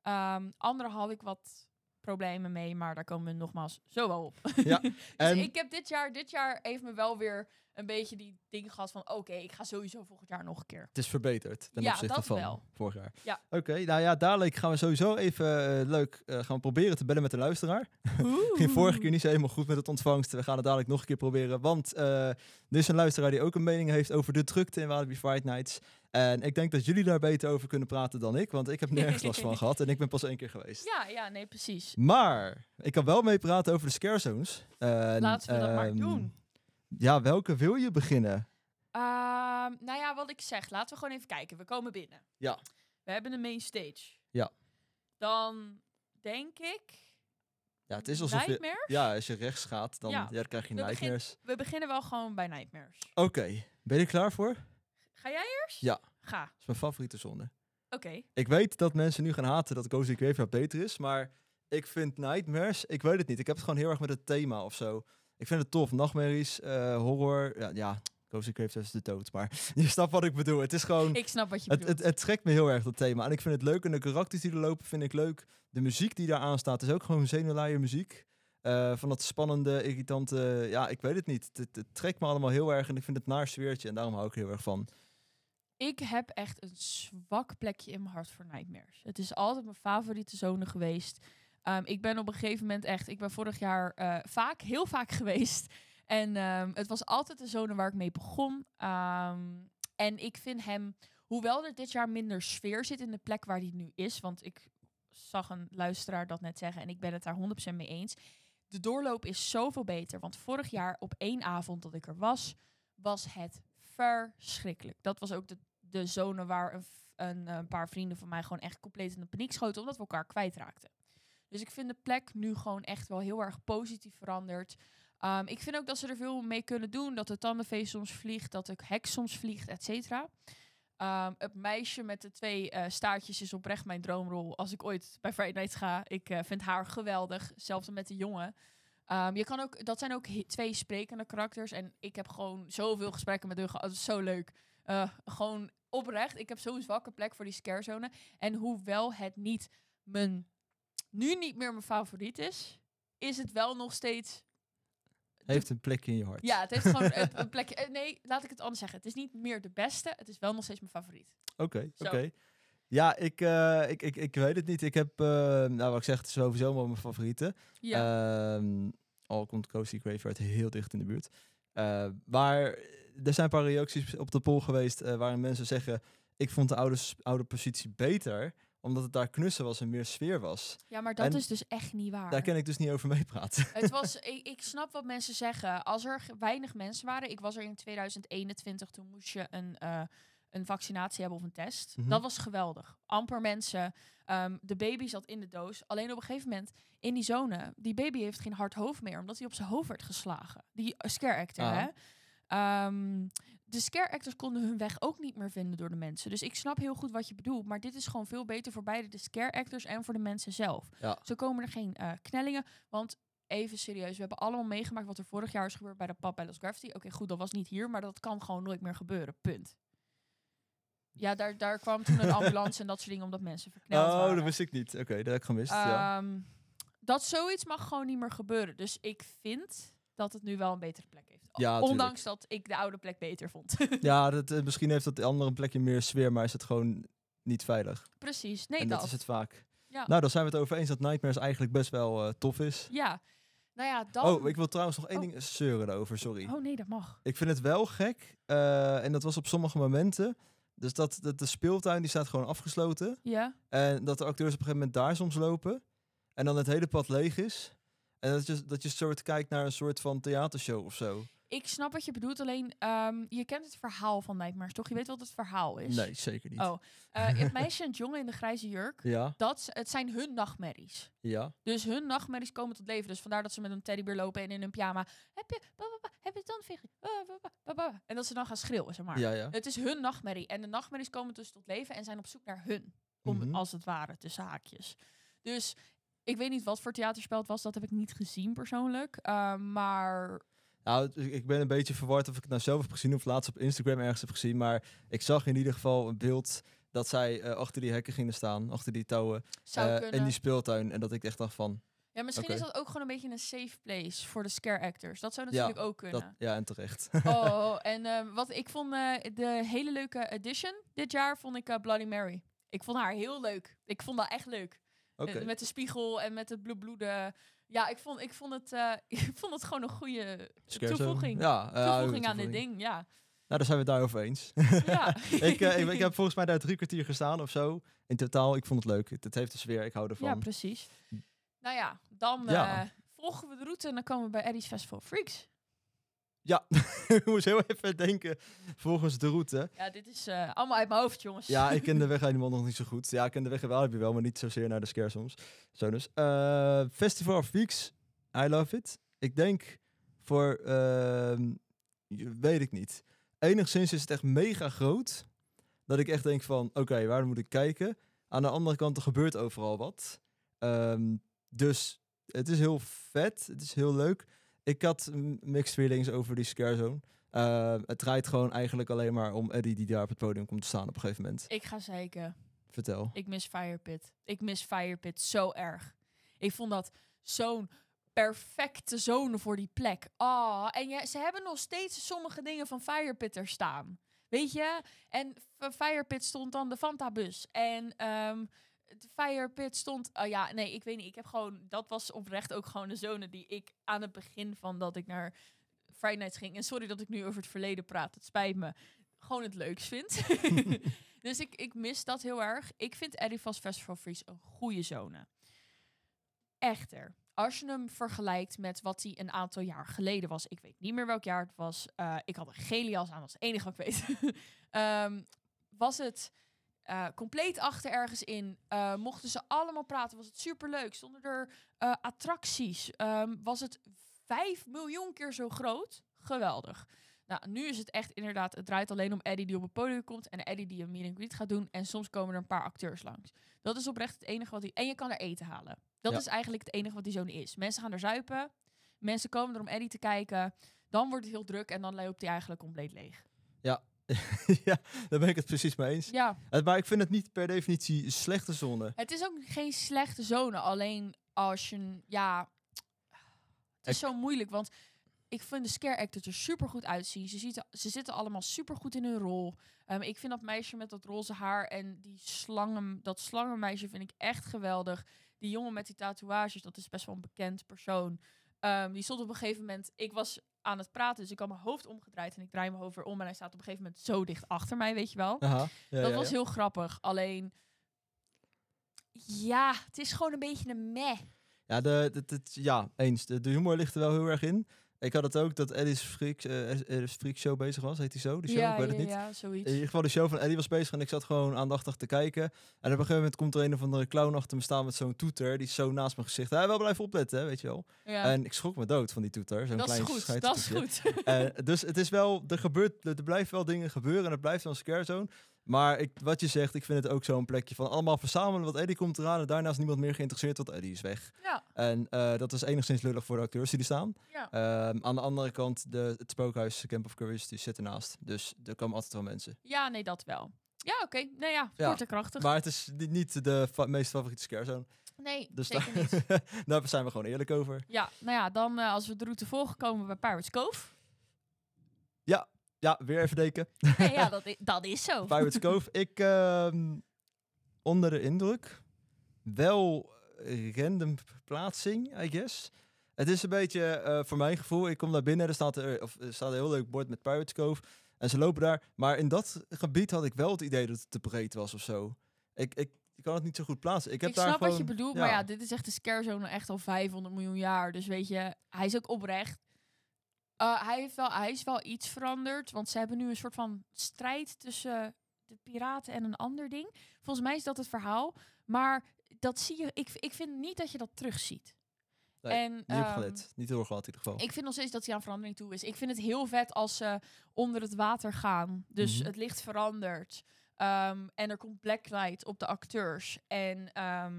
C: Ehm, andere had ik wat problemen mee, maar daar komen we nogmaals zo wel op.
B: Ja,
C: Dus
B: en-
C: ik heb dit jaar, dit jaar heeft me wel weer een beetje die ding gehad van oké, ik ga sowieso volgend jaar nog een keer.
B: Het is verbeterd ten
C: Ja,
B: opzichte
C: dat
B: van
C: wel.
B: vorig jaar.
C: Ja.
B: Oké, nou ja, dadelijk gaan we sowieso even eh, leuk eh, gaan we proberen te bellen met de luisteraar. Ging vorige keer niet zo helemaal goed met het ontvangst. We gaan het dadelijk nog een keer proberen. Want eh, er is een luisteraar die ook een mening heeft over de drukte in Walibi Fright Nights. En ik denk dat jullie daar beter over kunnen praten dan ik. Want ik heb nergens last van gehad en ik ben pas één keer geweest.
C: Ja, ja, nee, precies.
B: Maar ik kan wel mee praten over de scare zones. En,
C: Laten we dat maar
B: ehm,
C: doen.
B: Ja, welke wil je beginnen?
C: Ehm, nou ja, wat ik zeg, laten we gewoon even kijken. We komen binnen.
B: Ja.
C: We hebben een main stage.
B: Ja.
C: Dan denk ik.
B: Ja, het is alsof je...
C: Nightmare?
B: Ja, als je rechts gaat, dan,
C: Ja.
B: ja, dan krijg je
C: We beginnen-
B: nightmares.
C: We beginnen wel gewoon bij nightmares.
B: Oké, ben je er klaar voor? Dat
C: Ga jij eerst?
B: Ja.
C: Ga.
B: is mijn favoriete zone.
C: Oké.
B: Ik weet dat mensen nu gaan haten dat Cozy Graveyard nou beter is, maar ik vind Nightmares, ik weet het niet. Ik heb het gewoon heel erg met het thema of zo. Ik vind het tof. Nachtmerries, eh, horror, ja, ja Cozy Graveyard is de dood, maar je snapt wat ik bedoel. Het is gewoon,
C: Ik snap wat je
B: het,
C: bedoelt.
B: het, het trekt me heel erg dat thema. En ik vind het leuk en de karakters die er lopen vind ik leuk. De muziek die daar aan staat is ook gewoon zenuwlaaier muziek. Eh, van dat spannende, irritante, ja, ik weet het niet. Het, het, het trekt me allemaal heel erg en ik vind het naar sfeertje en daarom hou ik er heel erg van.
C: Ik heb echt een zwak plekje in mijn hart voor Nightmares. Het is altijd mijn favoriete zone geweest. Ehm, ik ben op een gegeven moment echt, ik ben vorig jaar eh, vaak, heel vaak geweest. En ehm, het was altijd de zone waar ik mee begon. Ehm, en ik vind hem, hoewel er dit jaar minder sfeer zit in de plek waar hij nu is, want ik zag een luisteraar dat net zeggen en ik ben het daar 100% mee eens. De doorloop is zoveel beter, want vorig jaar op één avond dat ik er was, was het verschrikkelijk. Dat was ook de de zone waar een, v- een, eh, een paar vrienden van mij gewoon echt compleet in de paniek schoten, omdat we elkaar kwijtraakten. Dus ik vind de plek nu gewoon echt wel heel erg positief veranderd. Ehm, ik vind ook dat ze er veel mee kunnen doen. Dat de tandenfeest soms vliegt, dat de hek soms vliegt, et cetera. Ehm, het meisje met de twee eh, staartjes is oprecht mijn droomrol. Als ik ooit bij Friday Night ga, ik eh, vind haar geweldig. Zelfs met de jongen. Ehm, je kan ook, dat zijn ook he- twee sprekende karakters. En ik heb gewoon zoveel gesprekken met hun gehad. Het is zo leuk. Eh, gewoon oprecht. Ik heb zo'n zwakke plek voor die scarezone. En hoewel het niet mijn, nu niet meer mijn favoriet is, is het wel nog steeds
B: Heeft een plekje in je hart.
C: ja, het heeft gewoon een, een plekje. eh, Nee, laat ik het anders zeggen. Het is niet meer de beste. Het is wel nog steeds mijn favoriet.
B: Oké,
C: Zo.
B: oké. Ja, ik, eh, ik, ik, ik weet het niet. Ik heb, eh, nou wat ik zeg, het is sowieso wel mijn favoriete.
C: Ja.
B: Ehm, al komt Cozy Graveyard heel dicht in de buurt. Eh, maar er zijn een paar reacties op de poll geweest eh, waarin mensen zeggen... ik vond de oude, s- oude positie beter, omdat het daar knussen was en meer sfeer was.
C: ja, maar dat
B: en-
C: is dus echt niet waar.
B: Daar kan ik dus niet over meepraten.
C: Het was, ik, ik snap wat mensen zeggen. Als er ge- weinig mensen waren, ik was er in 2021, toen moest je een, eh, een vaccinatie hebben of een test.
B: Mhm.
C: Dat was geweldig. Amper mensen. ehm, de baby zat in de doos. Alleen op een gegeven moment in die zone, die baby heeft geen hard hoofd meer, omdat hij op zijn hoofd werd geslagen. Die eh, scare actor,
B: Ah.
C: hè? Ehm, de scare actors konden hun weg ook niet meer vinden door de mensen. Dus ik snap heel goed wat je bedoelt. Maar dit is gewoon veel beter voor beide de scare actors en voor de mensen zelf.
B: Ja.
C: Zo komen er geen eh, knellingen. Want even serieus, we hebben allemaal meegemaakt wat er vorig jaar is gebeurd bij de pap bij Lost Gravity. Oké, goed, dat was niet hier, maar dat kan gewoon nooit meer gebeuren. Punt. Ja, daar, daar kwam toen een ambulance en dat soort dingen omdat mensen verkneld
B: Dus- oh,
C: waren.
B: dat wist ik niet. Oké, dat heb ik gemist, ja.
C: Ehm, Dat zoiets mag gewoon niet meer gebeuren. Dus ik vind dat het nu wel een betere plek heeft.
B: Ja, tuurlijk.
C: Ondanks dat ik de oude plek beter vond.
B: Ja, dat, eh, misschien heeft dat andere plekje meer sfeer, maar is het gewoon niet veilig.
C: Precies, nee
B: en
C: dat.
B: dat is het vaak.
C: Ja.
B: Nou, dan zijn we het over eens dat Nightmares eigenlijk best wel eh, tof is.
C: Ja, nou ja, dan...
B: Oh, ik wil trouwens nog één
C: Oh.
B: ding zeuren over, sorry.
C: Oh, nee, dat mag.
B: Ik vind het wel gek, eh, en dat was op sommige momenten, dus dat, dat de speeltuin die staat gewoon afgesloten.
C: Ja,
B: En dat de acteurs op een gegeven moment daar soms lopen. En dan het hele pad leeg is. En dat je, dat je soort kijkt naar een soort van theatershow of zo.
C: ik snap wat je bedoelt. Alleen, ehm, je kent het verhaal van Nightmares, toch? Je weet wat het verhaal is.
B: Nee, zeker niet.
C: Oh. Eh, het meisje en het jongen in de grijze jurk,
B: Ja,
C: dat, z- het zijn hun nachtmerries.
B: ja.
C: Dus hun nachtmerries komen tot leven. Dus vandaar dat ze met een teddybeer lopen en in hun pyjama. Heb je, ba, ba, ba, heb heb je tandvegen? Ah, ba, ba, ba, ba." En dat ze dan gaan schreeuwen, zeg maar. eh,
B: Ja, ja.
C: Het is hun nachtmerrie. En de nachtmerries komen dus tot leven en zijn op zoek naar hun. Om,
B: Mhm.
C: Als het ware, tussen haakjes. Dus ik weet niet wat voor theaterspel het was. Dat heb ik niet gezien persoonlijk. Eh, maar
B: Nou, het- ik ben een beetje verward of ik het nou zelf heb gezien of laatst op Instagram ergens heb gezien. Maar ik zag in ieder geval een beeld dat zij eh, achter die hekken gingen staan, achter die touwen.
C: zou
B: eh,
C: kunnen...
B: in die speeltuin. En dat ik echt dacht van,
C: Ja, misschien
B: Oké.
C: is dat ook gewoon een beetje een safe place voor de scare actors. Dat zou natuurlijk ook kunnen.
B: dat, ja, en terecht.
C: Oh, en eh, wat ik vond eh, de hele leuke edition dit jaar vond ik eh, Bloody Mary. Ik vond haar heel leuk. Ik vond dat echt leuk.
B: Oké.
C: Eh, met de spiegel en met het bloedbloeden. Ja, ik vond, ik vond, het, eh, ik vond het gewoon een goede
B: Scarezone.
C: toevoeging.
B: Ja, eh,
C: toevoeging aan dit
B: toevoeging.
C: ding. Ja.
B: Nou, daar zijn we het daarover eens.
C: ja.
B: ik, eh, ik, ik heb volgens mij daar drie kwartier gestaan of zo. In totaal, ik vond het leuk. Het, het heeft dus weer, ik hou ervan.
C: ja, precies. Nou ja, dan
B: Ja.
C: eh, volgen we de route en dan komen we bij Eddie's Festival of Freaks.
B: ik moest heel even denken, volgens de route.
C: Ja, dit is eh, allemaal uit mijn hoofd, jongens.
B: Ja, ik ken de weg helemaal nog niet zo goed. Ja, ik ken de weg wel, heb je wel, maar niet zozeer naar de scare soms. Zo dus. Eh, Festival of Weeks, I love it. Ik denk voor, ehm, je- weet ik niet. Enigszins is het echt mega groot. Dat ik echt denk van, oké, waar moet ik kijken? Aan de andere kant, er gebeurt overal wat. Ehm, dus het is heel vet, het is heel leuk. Ik had mm, mixed feelings over die scare zone. Eh, het draait gewoon eigenlijk alleen maar om Eddie die daar op het podium komt te staan op een gegeven moment.
C: Ik ga zeker.
B: Vertel.
C: Ik mis Firepit. Ik mis Firepit zo erg. Ik vond dat zo'n perfecte zone voor die plek. Ah, en je, ze hebben nog steeds sommige dingen van Firepit er staan. Weet je? En van Firepit stond dan de Fanta-bus. En ehm de Firepit stond... Oh ja, nee, ik weet niet. Ik heb gewoon... Dat was oprecht ook gewoon de zone die ik aan het begin van dat ik naar Friday Nights ging... En sorry dat ik nu over het verleden praat. Het spijt me. Gewoon het leuks vind. Dus ik, ik mis dat heel erg. Ik vind Edifast Festival Freeze een goede zone. Echter, als je hem vergelijkt met wat hij een aantal jaar geleden was. Ik weet niet meer welk jaar het was. eh, ik had een gele jas aan, dat is het enige wat ik weet. Ehm, was het eh, compleet achter ergens in. eh, mochten ze allemaal praten, was het superleuk. Stonden er eh, attracties. Ehm, was het vijf miljoen keer zo groot. Geweldig. Nou, nu is het echt inderdaad, het draait alleen om Eddie die op het podium komt en Eddie die een meet and greet gaat doen. En soms komen er een paar acteurs langs. Dat is oprecht het enige wat hij... En je kan er eten halen. Dat
B: Ja.
C: is eigenlijk het enige wat die zone is. Mensen gaan er zuipen, mensen komen er om Eddie te kijken. Dan wordt het heel druk en dan loopt hij eigenlijk compleet leeg.
B: ja, daar ben ik het precies mee eens.
C: Ja,
B: Eh, Maar ik vind het niet per definitie slechte zone.
C: het is ook geen slechte zone. Alleen als je... Ja, het is
B: Ik-
C: zo moeilijk, want... Ik vind de scare actors er super goed uitzien. Ze, ziet, ze zitten allemaal super goed in hun rol. Ehm, ik vind dat meisje met dat roze haar en die slangen, dat slangenmeisje vind ik echt geweldig. Die jongen met die tatoeages, dat is best wel een bekend persoon. Ehm, die stond op een gegeven moment, ik was aan het praten, dus ik had mijn hoofd omgedraaid en ik draai mijn hoofd weer om. En hij staat op een gegeven moment zo dicht achter mij, weet je wel.
B: Aha. Ja,
C: dat
B: ja,
C: was
B: ja.
C: heel grappig. Alleen, ja, het is gewoon een beetje een meh.
B: Ja, de, de, de- ja eens. De, de humor ligt er wel heel erg in. Ik had het ook dat Eddie's Freak, eh, Eddie's Freak Show bezig was, heet die zo? Die show, ik weet het niet.
C: ja,
B: In
C: zoiets.
B: ieder geval, de show van Eddie was bezig en ik zat gewoon aandachtig te kijken. En op een gegeven moment komt er een of andere clown achter me staan met zo'n toeter. Die is zo naast mijn gezicht. Hij wel blijven opletten, hè, weet je wel.
C: Ja.
B: Eh, En ik schrok me dood van die toeter. Zo'n
C: dat is
B: klein
C: goed, dat is
B: scheidstoetertje.
C: goed.
B: Eh, dus het is wel, er, gebeurt, er blijft wel dingen gebeuren en het blijft wel een scare zone. Maar ik, wat je zegt, ik vind het ook zo'n plekje van allemaal verzamelen, want Eddie komt eraan en daarna is niemand meer geïnteresseerd, want Eddie is weg.
C: ja,
B: En eh, dat is enigszins lullig voor de acteurs die er staan.
C: ja.
B: Ehm, aan de andere kant, de, het spookhuis Camp of Curiosity zit ernaast, dus er komen altijd wel mensen.
C: ja, nee, dat wel. Ja, oké. Nou ja,
B: Ja,
C: kort en krachtig.
B: Maar het is ni- niet de fa- meest favoriete scare zone,
C: nee,
B: dus
C: zeker
B: daar,
C: niet.
B: daar zijn we gewoon eerlijk over.
C: Ja, nou ja, dan eh, als we de route volgen komen we bij Pirates Cove.
B: Ja, weer even deken.
C: Nee, ja, dat is, dat is zo.
B: Pirates Cove. Ik ehm, onder de indruk. Wel random plaatsing, I guess. Het is een beetje eh, voor mijn gevoel. Ik kom daar binnen, er staat, er, of, er staat een heel leuk bord met Pirates Cove. En ze lopen daar. Maar in dat gebied had ik wel het idee dat het te breed was of zo. Ik, ik, ik kan het niet zo goed plaatsen. Ik, heb
C: Ik
B: daar
C: snap wat je
B: gewoon-
C: bedoelt, maar ja, dit is echt de scare zone echt al 500 miljoen jaar. Dus weet je, hij is ook oprecht. Eh, hij, heeft wel, hij is wel iets veranderd, want ze hebben nu een soort van strijd tussen de piraten en een ander ding. Volgens mij is dat het verhaal, maar dat zie je, ik, ik vind niet dat je dat terugziet.
B: Nee,
C: en,
B: Niet op
C: ehm,
B: gelet. Niet doorgehad in ieder geval.
C: ik vind nog steeds dat hij aan verandering toe is. Ik vind het heel vet als ze onder het water gaan. Dus
B: Mhm.
C: het licht verandert. Ehm, en er komt blacklight op de acteurs. En ehm,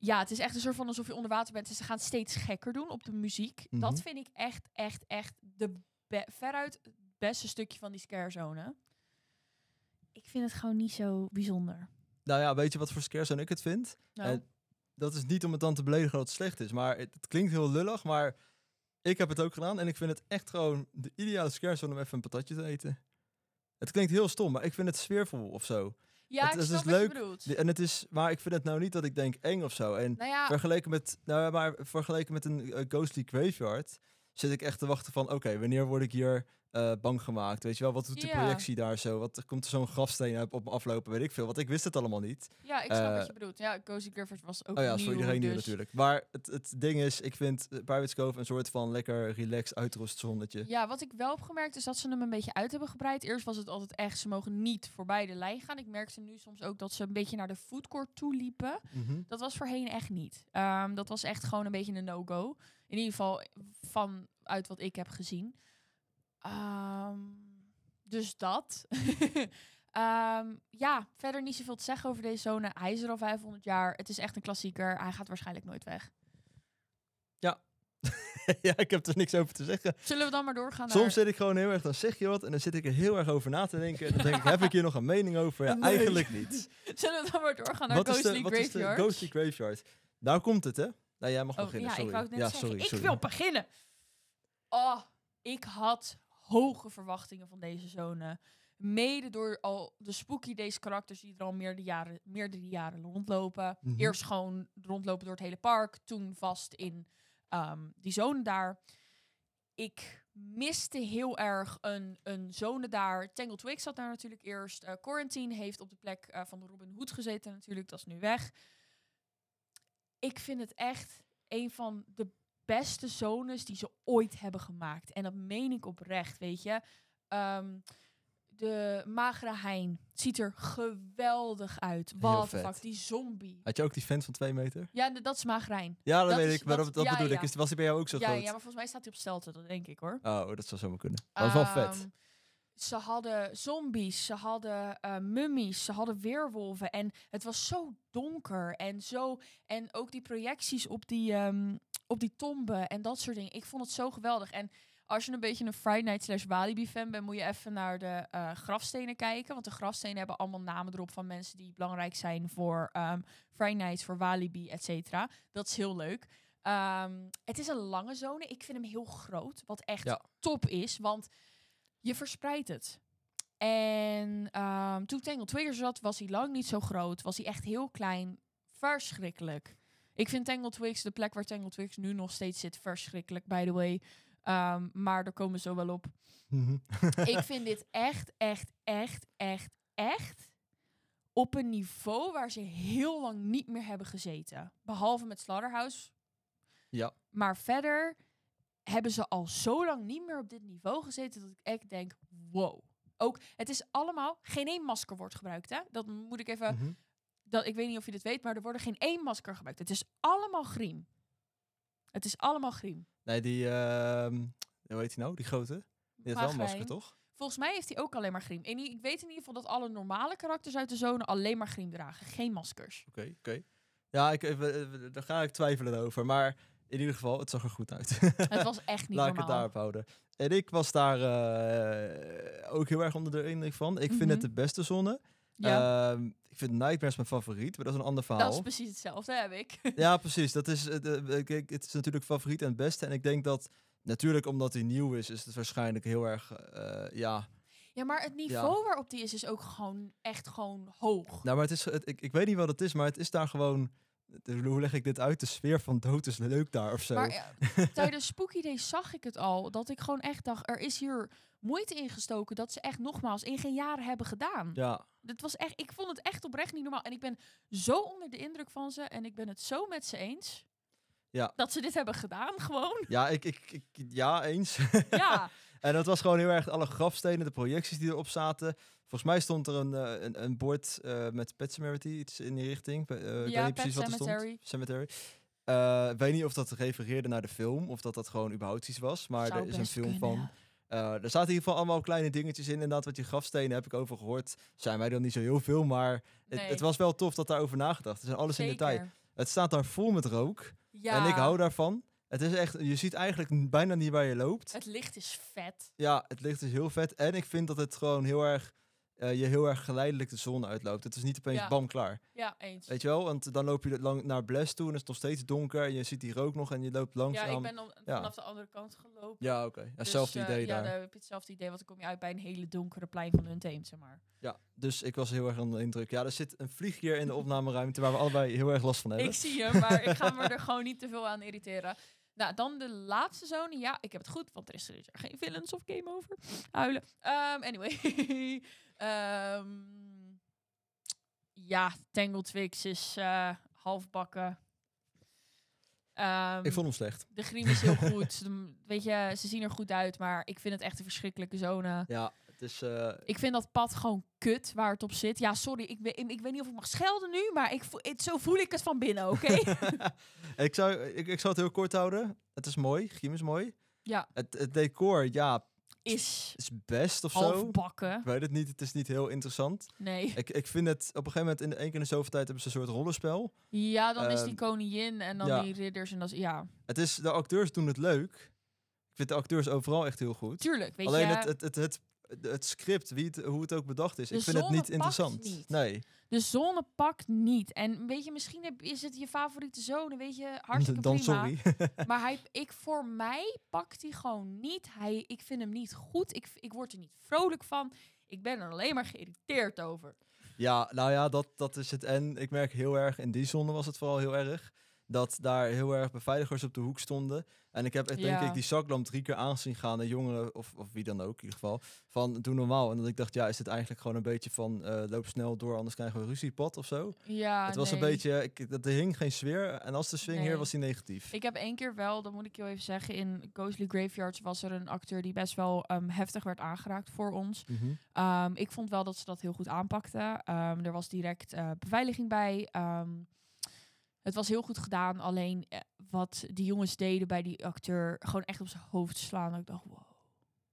C: ja, het is echt een soort van alsof je onder water bent. Dus ze gaan het steeds gekker doen op de muziek.
B: Mhm.
C: Dat vind ik echt, echt, echt de be- veruit het beste stukje van die scare zone. Ik vind het gewoon niet zo bijzonder.
B: Nou ja, weet je wat voor scarezone ik het vind?
C: Nou,
B: Eh, dat is niet om het dan te beledigen dat het slecht is. Maar het, het klinkt heel lullig, maar ik heb het ook gedaan. En ik vind het echt gewoon de ideale scarezone om even een patatje te eten. Het klinkt heel stom, maar ik vind het sfeervol of zo.
C: ja,
B: het
C: ik
B: is
C: snap
B: dus
C: wat
B: leuk,
C: je bedoelt.
B: De- En het is, maar ik vind het nou niet dat ik denk eng of zo. En
C: nou ja,
B: vergeleken met, nou ja, maar vergeleken met een eh, ghostly graveyard zit ik echt te wachten van, oké, wanneer word ik hier eh, bang gemaakt? Weet je wel, wat doet de
C: Ja.
B: projectie daar zo? Wat komt er zo'n grafsteen op, op me aflopen? Weet ik veel, want ik wist het allemaal niet.
C: ja, ik snap
B: eh,
C: wat je bedoelt. Ja, Cozy Griffith was ook
B: Oh ja,
C: nieuw,
B: voor iedereen nieuw
C: dus-
B: natuurlijk. Maar het, het ding is, ik vind eh, Pirates Cove een soort van lekker relaxed uitrustzonnetje.
C: Ja, wat ik wel heb gemerkt is dat ze hem een beetje uit hebben gebreid. Eerst was het altijd echt, ze mogen niet voorbij de lijn gaan. Ik merkte nu soms ook dat ze een beetje naar de foodcourt toe liepen.
B: Mhm.
C: Dat was voorheen echt niet. Ehm, dat was echt gewoon een beetje een no-go. In ieder geval vanuit wat ik heb gezien. Ehm, dus dat. Ehm, ja, verder niet zoveel te zeggen over deze zone. Hij is er al 500 jaar. Het is echt een klassieker. Hij gaat waarschijnlijk nooit weg.
B: ja, ik heb er niks over te zeggen.
C: Zullen we dan maar doorgaan
B: Soms
C: naar...
B: zit ik gewoon heel erg, dan zeg je wat en dan zit ik er heel erg over na te denken. En dan denk ik, heb ik hier nog een mening over? Ja,
C: Nee.
B: eigenlijk niet.
C: Zullen we dan maar doorgaan naar
B: Wat is
C: Ghostly
B: de, wat is de
C: Graveyard?
B: Ghostly Graveyard? Daar komt het, hè? Nou, jij mag
C: Oh,
B: beginnen,
C: ja,
B: sorry.
C: ik wou het net
B: ja,
C: zeggen.
B: sorry,
C: ik
B: sorry.
C: wil beginnen. Oh, ik had hoge verwachtingen van deze zone. Mede door al de spooky deze karakters die er al meerdere jaren, meerdere jaren rondlopen.
B: Mhm.
C: Eerst gewoon rondlopen door het hele park. Toen vast in ehm, die zone daar. Ik miste heel erg een, een zone daar. Tangled Wake zat daar natuurlijk eerst. Eh, Quarantine heeft op de plek eh, van de Robin Hood gezeten natuurlijk. Dat is nu weg. Ik vind het echt een van de beste zones die ze ooit hebben gemaakt. En dat meen ik oprecht, weet je. Ehm, de magere hein ziet er geweldig uit.
B: Heel
C: Wat
B: vet.
C: fuck, die zombie.
B: Had je ook die fan van twee meter?
C: Ja, de- dat is magere hein.
B: Ja, dat,
C: Dat
B: weet
C: is-
B: ik, maar
C: dat-
B: dat, dat
C: ja,
B: bedoel ik.
C: ja.
B: Is- Was hij bij jou ook zo
C: Ja, ja,
B: groot?
C: maar volgens mij staat hij op stelte, dat denk ik hoor.
B: Oh, dat zou zomaar kunnen. Dat was wel vet.
C: Ehm, Ze hadden zombies, ze hadden eh, mummies, ze hadden weerwolven. En het was zo donker en zo. En ook die projecties op die, ehm, op die tomben en dat soort dingen. Ik vond het zo geweldig. En als je een beetje een Friday Night slash Walibi fan bent, moet je even naar de eh, grafstenen kijken. Want de grafstenen hebben allemaal namen erop van mensen die belangrijk zijn voor ehm Friday Nights, voor Walibi, et cetera. Dat is heel leuk. Ehm, het is een lange zone. Ik vind hem heel groot, wat echt
B: Ja.
C: top is. Want je verspreidt het. En ehm, toen Tangled Twigger zat, was hij lang niet zo groot. Was hij echt heel klein. Verschrikkelijk. Ik vind Tangled Twigs, de plek waar Tangled Twigs nu nog steeds zit, verschrikkelijk, by the way. Ehm, maar daar komen we zo wel op.
B: Mhm.
C: ik vind dit echt, echt, echt, echt, echt op een niveau waar ze heel lang niet meer hebben gezeten. Behalve met Slaughterhouse.
B: Ja.
C: Maar verder hebben ze al zo lang niet meer op dit niveau gezeten dat ik echt denk, wow. Ook, het is allemaal, geen één masker wordt gebruikt, hè? Dat moet ik even,
B: Mhm.
C: dat, ik weet niet of je dit weet, maar er worden geen één masker gebruikt. Het is allemaal griem. Het is allemaal griem.
B: Nee, die, ehm, hoe heet die nou? Die grote? Die had wel een masker,
C: Waagwijn.
B: toch?
C: Volgens mij heeft hij ook alleen maar griem. En ik weet in ieder geval dat alle normale karakters uit de zone alleen maar griem dragen. Geen maskers.
B: Oké, oké. Ja, ik, eh, we- we- daar ga ik twijfelen over. Maar in ieder geval, het zag er goed uit.
C: Het was echt niet
B: Laat ik het
C: normaal.
B: daarop houden. En ik was daar eh, ook heel erg onder de indruk van. Ik vind het
C: Mhm.
B: de beste zonne.
C: ja,
B: Ehm, ik vind Nightmares mijn favoriet, maar dat is een ander verhaal.
C: dat is precies hetzelfde, heb ik.
B: Ja, precies. Dat is, eh, de- eh, kijk, het is natuurlijk favoriet en het beste. En ik denk dat, natuurlijk omdat hij nieuw is, is het waarschijnlijk heel erg, eh, ja...
C: Ja, maar het niveau waarop die is, is ook gewoon echt gewoon hoog.
B: Nou, maar het is, het- ik, ik weet niet wat het is, maar het is daar gewoon... de- Hoe leg ik dit uit? De sfeer van dood is leuk daar of zo.
C: maar eh, tijdens Spooky Days zag ik het al. Dat ik gewoon echt dacht, er is hier moeite ingestoken dat ze echt nogmaals in geen jaren hebben gedaan.
B: ja.
C: Dit was echt, ik vond het echt oprecht niet normaal. En ik ben zo onder de indruk van ze. En ik ben het zo met ze eens.
B: Ja.
C: Dat ze dit hebben gedaan, gewoon.
B: Ja, ik, ik, ik, ja, eens.
C: Ja.
B: en dat was gewoon heel erg alle grafstenen, de projecties die erop zaten. Volgens mij stond er een, eh, een, een bord eh, met Pet Cemetery, iets in die richting. Pe- eh, ik
C: Ja,
B: weet niet
C: Pet
B: precies wat er
C: Cemetery.
B: stond. Cemetery. Eh, ik weet niet of dat refereerde naar de film of dat dat gewoon überhaupt iets was. Maar
C: Zou
B: er is een
C: best
B: film
C: kunnen,
B: van.
C: ja.
B: Eh, er zaten in ieder geval allemaal kleine dingetjes in. Inderdaad, wat je grafstenen heb ik over gehoord. Zijn wij dan niet zo heel veel, maar het,
C: Nee,
B: het was wel tof dat daarover nagedacht is. En alles in detail.
C: zeker.
B: Het staat daar vol met rook.
C: Ja,
B: En ik hou daarvan. Het is echt, je ziet eigenlijk n- bijna niet waar je loopt.
C: Het licht is vet.
B: Ja, het licht is heel vet. En ik vind dat het gewoon heel erg, eh, je heel erg geleidelijk de zon uitloopt. Het is niet opeens
C: Ja.
B: bam klaar.
C: Ja, eens.
B: Weet je wel? Want dan loop je lang naar Bless toe en het is nog steeds donker. En je ziet die rook nog en je loopt
C: ja,
B: langzaam.
C: ik ben om-
B: ja.
C: vanaf de andere kant gelopen.
B: Ja, oké. Ja,
C: Dus,
B: Hetzelfde
C: eh,
B: idee
C: ja,
B: daar.
C: daar heb je hetzelfde idee, want dan kom je uit bij een hele donkere plein van hun team, zeg maar.
B: Ja, dus ik was heel erg onder de indruk. Ja, er zit een vliegje in de opnameruimte waar we allebei heel erg last van hebben.
C: Ik zie hem, maar ik ga me er gewoon niet te veel aan irriteren. Nou, dan de laatste zone. Ja, ik heb het goed, want er is er geen villains of game over. Huilen. Ehm, anyway. Ehm, ja, Tangled Twix is eh halfbakken. Ehm,
B: Ik vond hem slecht.
C: De griem is heel goed. De- Weet je, ze zien er goed uit, maar ik vind het echt een verschrikkelijke zone.
B: Ja, het is... eh,
C: Ik vind dat pad gewoon kut waar het op zit. Ja, sorry, ik, weet- ik weet niet of ik mag schelden nu, maar ik voel, het, zo voel ik het van binnen, oké?
B: ik, zou, ik, ik zou het heel kort houden. Het is mooi. Giem is mooi.
C: Ja.
B: Het, het decor, ja,
C: is
B: is best of zo.
C: halfbakken.
B: Ik weet het niet. Het is niet heel interessant.
C: Nee.
B: Ik, ik vind het... Op een gegeven moment, in de één keer in de zoveel tijd, hebben ze een soort rollenspel.
C: Ja, dan is die
B: Ehm,
C: koningin en dan
B: ja.
C: die ridders en dat is... Ja,
B: Het is... De acteurs doen het leuk. Ik vind de acteurs overal echt heel goed.
C: tuurlijk, weet
B: Alleen
C: je.
B: het, het, het, het, het script, wie het, hoe het ook bedacht is,
C: De
B: ik vind het
C: zone
B: niet
C: pakt
B: interessant.
C: niet.
B: Nee.
C: De zone pakt niet. En weet je, misschien heb- is het je favoriete zone, weet je, hartstikke
B: Dan
C: prima.
B: sorry.
C: Maar hij, ik, voor mij pakt hij gewoon niet. Hij, ik vind hem niet goed. Ik, ik word er niet vrolijk van. Ik ben er alleen maar geïrriteerd over.
B: Ja, nou ja, dat, dat is het. En ik merk heel erg, in die zone was het vooral heel erg, dat daar heel erg beveiligers op de hoek stonden. En ik heb echt, denk
C: Ja.
B: ik, die zaklamp drie keer aan zien gaan naar jongeren, of, of wie dan ook in ieder geval, van doe normaal. En dat ik dacht, ja, is dit eigenlijk gewoon een beetje van eh, loop snel door, anders krijgen we ruziepad of zo.
C: Ja,
B: het was een
C: Ah, nee.
B: beetje, ik, dat, er hing geen sfeer. En als de swing hier
C: Nee.
B: was die negatief.
C: Ik heb één keer wel, dat moet ik heel even zeggen, in Ghostly Graveyards was er een acteur die best wel ehm, heftig werd aangeraakt voor ons.
B: Mhm.
C: Ehm, ik vond wel dat ze dat heel goed aanpakten. Ehm, er was direct eh, beveiliging bij. Ehm, het was heel goed gedaan. Alleen eh, wat die jongens deden bij die acteur, gewoon echt op zijn hoofd slaan. Ik dacht, wow.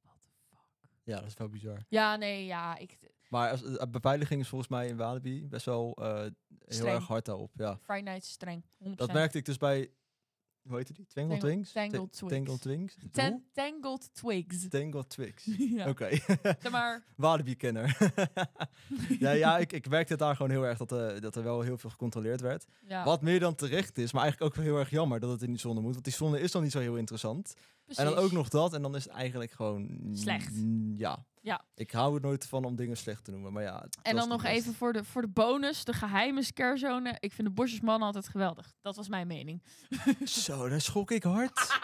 C: what the fuck.
B: Ja, dat is wel bizar.
C: Ja, nee, ja. Ik,
B: Maar als, eh, beveiliging is volgens mij in Walibi best wel eh, heel
C: Streng.
B: erg hard daarop. Ja.
C: Friday Night is streng. 100%.
B: Dat merkte ik dus bij, hoe heette die? Twangle
C: Tangle-
B: Twings?
C: Tangled Twigs.
B: Tangle Twings. Hoe?
C: Tan- tangled Twigs.
B: Tangle Twix.
C: ja.
B: Oké,
C: Zeg maar,
B: Walibi-kenner. ja, ja ik, ik merkte het daar gewoon heel erg dat, eh, dat er wel heel veel gecontroleerd werd.
C: ja,
B: Wat meer dan terecht is, maar eigenlijk ook wel heel erg jammer dat het in die zonne moet. Want die zonne is dan niet zo heel interessant. En dan
C: precies.
B: ook nog dat, en dan is het eigenlijk gewoon... mm,
C: Slecht.
B: Ja.
C: Ja.
B: Ik hou er nooit van om dingen slecht te noemen, maar ja. het
C: En
B: was
C: dan
B: niet
C: nog
B: best.
C: even voor de, voor de bonus, de geheime scarzone. Ik vind de bosjesman altijd geweldig. Dat was mijn mening.
B: Zo, daar schrok ik hard.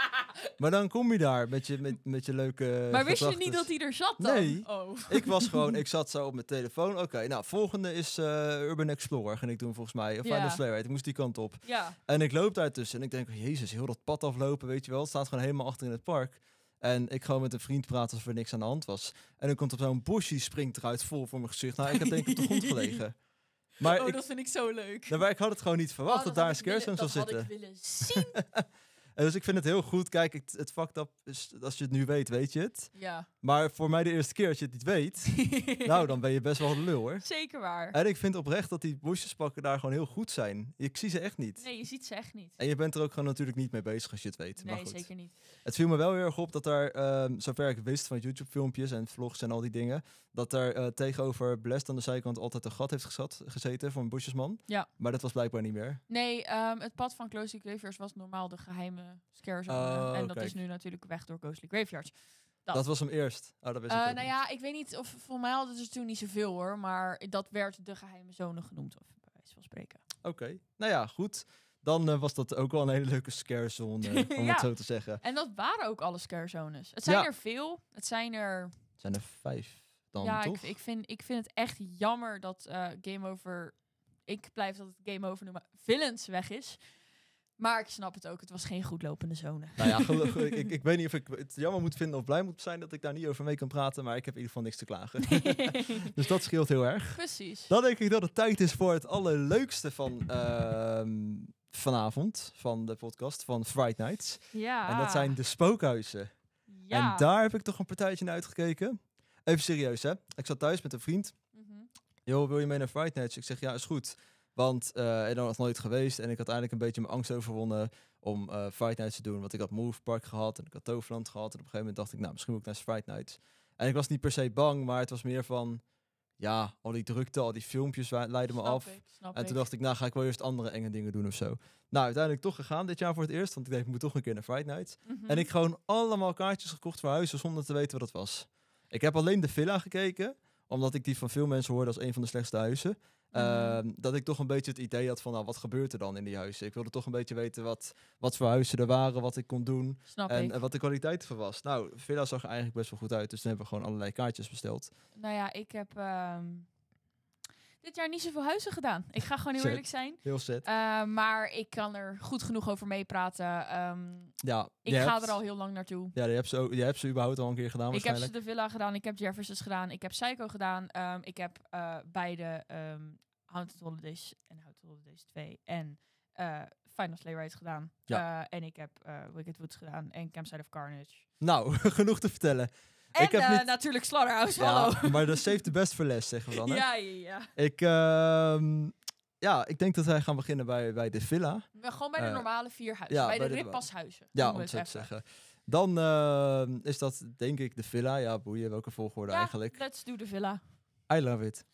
B: maar dan kom je daar met je, met, met je leuke...
C: maar wist je niet
B: Eh, gedachten.
C: dat hij er zat dan?
B: Nee.
C: Oh.
B: Ik was gewoon, ik zat zo op mijn telefoon. Oké, nou, volgende is eh, Urban Explorer, ging ik doen volgens mij. Of
C: Ja.
B: Final Slayer, ik moest die kant op.
C: Ja.
B: En ik loop daar tussen en ik denk, oh, jezus, heel dat pad aflopen, weet je wel. Het staat gewoon helemaal achter in het park. En ik gewoon met een vriend praten alsof er niks aan de hand was. En dan komt op zo'n bosje, springt eruit vol voor mijn gezicht. Nou, ik heb denk ik op de grond gelegen. Maar,
C: oh,
B: ik,
C: dat vind ik zo leuk.
B: nou, maar ik had het gewoon niet verwacht
C: Oh,
B: dat daar een
C: had ik willen-
B: scarecrow zou zitten.
C: Dat had ik willen zien.
B: En dus ik vind het heel goed. Kijk, het, het fucked up is, als je het nu weet, weet je het.
C: ja.
B: Maar voor mij de eerste keer als je het niet weet, nou, dan ben je best wel een lul hoor.
C: Zeker waar.
B: En ik vind oprecht dat die bosjespakken daar gewoon heel goed zijn. Ik zie ze echt niet.
C: Nee, je ziet ze echt niet.
B: En je bent er ook gewoon natuurlijk niet mee bezig als je het weet. maar
C: Nee,
B: goed.
C: zeker niet.
B: Het viel me wel heel erg op dat er, ehm, zover ik wist van YouTube-filmpjes en vlogs en al die dingen, dat er eh, tegenover Blest aan de zijkant altijd een gat heeft gezat, gezeten voor een bosjesman.
C: Ja.
B: Maar dat was blijkbaar niet meer.
C: Nee, ehm, het pad van Ghostly Graveyards was normaal de geheime scarzone.
B: Oh,
C: en dat
B: kijk.
C: is nu natuurlijk weg door Ghostly Graveyards. Dat.
B: Dat, was hem eerst. Oh, dat wist
C: Nou. Eh,
B: ik ook
C: nou
B: niet.
C: ja, ik weet niet of voor mij hadden ze toen niet zoveel hoor, maar dat werd de geheime zone genoemd, of bij wijze van spreken.
B: Oké. Nou ja, goed. Dan eh, was dat ook wel een hele leuke scare zone, eh, om
C: Ja.
B: het zo te zeggen.
C: En dat waren ook alle scare zones. Het zijn
B: Ja.
C: er veel. Het zijn er.
B: Het zijn er vijf dan,
C: ja,
B: toch?
C: ik, ik, vind, ik vind het echt jammer dat eh, Game Over. Ik blijf dat het Game Over noemen. Villains weg is. Maar ik snap het ook. Het was geen goed lopende zone.
B: Nou ja, gelukkig. ik, ik, ik weet niet of ik het jammer moet vinden of blij moet zijn dat ik daar niet over mee kan praten, maar ik heb in ieder geval niks te klagen. dus dat scheelt heel erg.
C: Precies.
B: Dan denk ik dat het tijd is voor het allerleukste van ehm, vanavond van de podcast van Fright Nights.
C: Ja.
B: En dat zijn de spookhuizen.
C: Ah. Ja.
B: En daar heb ik toch een partijtje naar uitgekeken. Even serieus, hè. Ik zat thuis met een vriend.
C: Mhm.
B: Joh, wil je mee naar Fright Nights? Ik zeg, ja, is goed. Want eh ik ben er nog nooit geweest. En ik had eigenlijk een beetje mijn angst overwonnen om eh Fright Nights te doen. Want ik had Move Park gehad en ik had Toverland gehad. En op een gegeven moment dacht ik, nou, misschien moet ik naar Fright Nights. En ik was niet per se bang, maar het was meer van... Ja, al die drukte, al die filmpjes wa- leiden me
C: Snap
B: af.
C: ik, snap
B: En toen
C: ik.
B: dacht ik, nou ga ik wel eerst andere enge dingen doen of zo. Nou, uiteindelijk toch gegaan dit jaar voor het eerst. Want ik dacht, ik moet toch een keer naar Fright Night.
C: Mhm.
B: En ik gewoon allemaal kaartjes gekocht voor huizen zonder te weten wat dat was. Ik heb alleen de villa gekeken. Omdat ik die van veel mensen hoorde als een van de slechtste huizen.
C: Mhm.
B: Ehm, dat ik toch een beetje het idee had van, nou wat gebeurt er dan in die huizen? Ik wilde toch een beetje weten wat, wat voor huizen er waren, wat ik kon doen.
C: Snap
B: En,
C: ik.
B: eh, wat de kwaliteit van was. Nou, villa zag er eigenlijk best wel goed uit. Dus toen hebben we gewoon allerlei kaartjes besteld.
C: Nou ja, ik heb ehm, dit jaar niet zoveel huizen gedaan. Ik ga gewoon heel
B: Zet.
C: eerlijk zijn.
B: Heel set.
C: Eh, maar ik kan er goed genoeg over meepraten. Ehm,
B: Ja,
C: ik
B: je
C: ga
B: hebt-
C: er al heel lang naartoe.
B: Ja, je hebt, ze, ook- je hebt ze überhaupt al een keer gedaan
C: Ik heb ze
B: waarschijnlijk.
C: de Villa gedaan, ik heb Jeffersons gedaan, ik heb Psycho gedaan. ehm, ik heb eh, beide ehm Haunted Holidays en Haunted Holidays 2 en eh Final Sleigh Ride gedaan.
B: Ja.
C: Eh, en ik heb eh, Wicked Woods gedaan en Campsite of Carnage.
B: Nou, genoeg te vertellen.
C: En
B: heb
C: eh,
B: niet-
C: natuurlijk Slaughterhouse, hallo.
B: maar de save the best for last, zeggen we dan. Hè?
C: Ja, ja, ja.
B: Ik, ehm, ja, ik denk dat wij gaan beginnen bij, bij de villa.
C: Maar Gewoon bij de
B: Eh,
C: normale vier huizen.
B: ja,
C: bij,
B: bij
C: de,
B: de-
C: rippashuizen.
B: Ja,
C: noemen
B: om
C: we
B: het zo te
C: Oh, even.
B: zeggen. Dan ehm, is dat denk ik de villa. Ja, boeien, welke volgorde
C: Ja,
B: eigenlijk.
C: Let's do de villa.
B: I love it.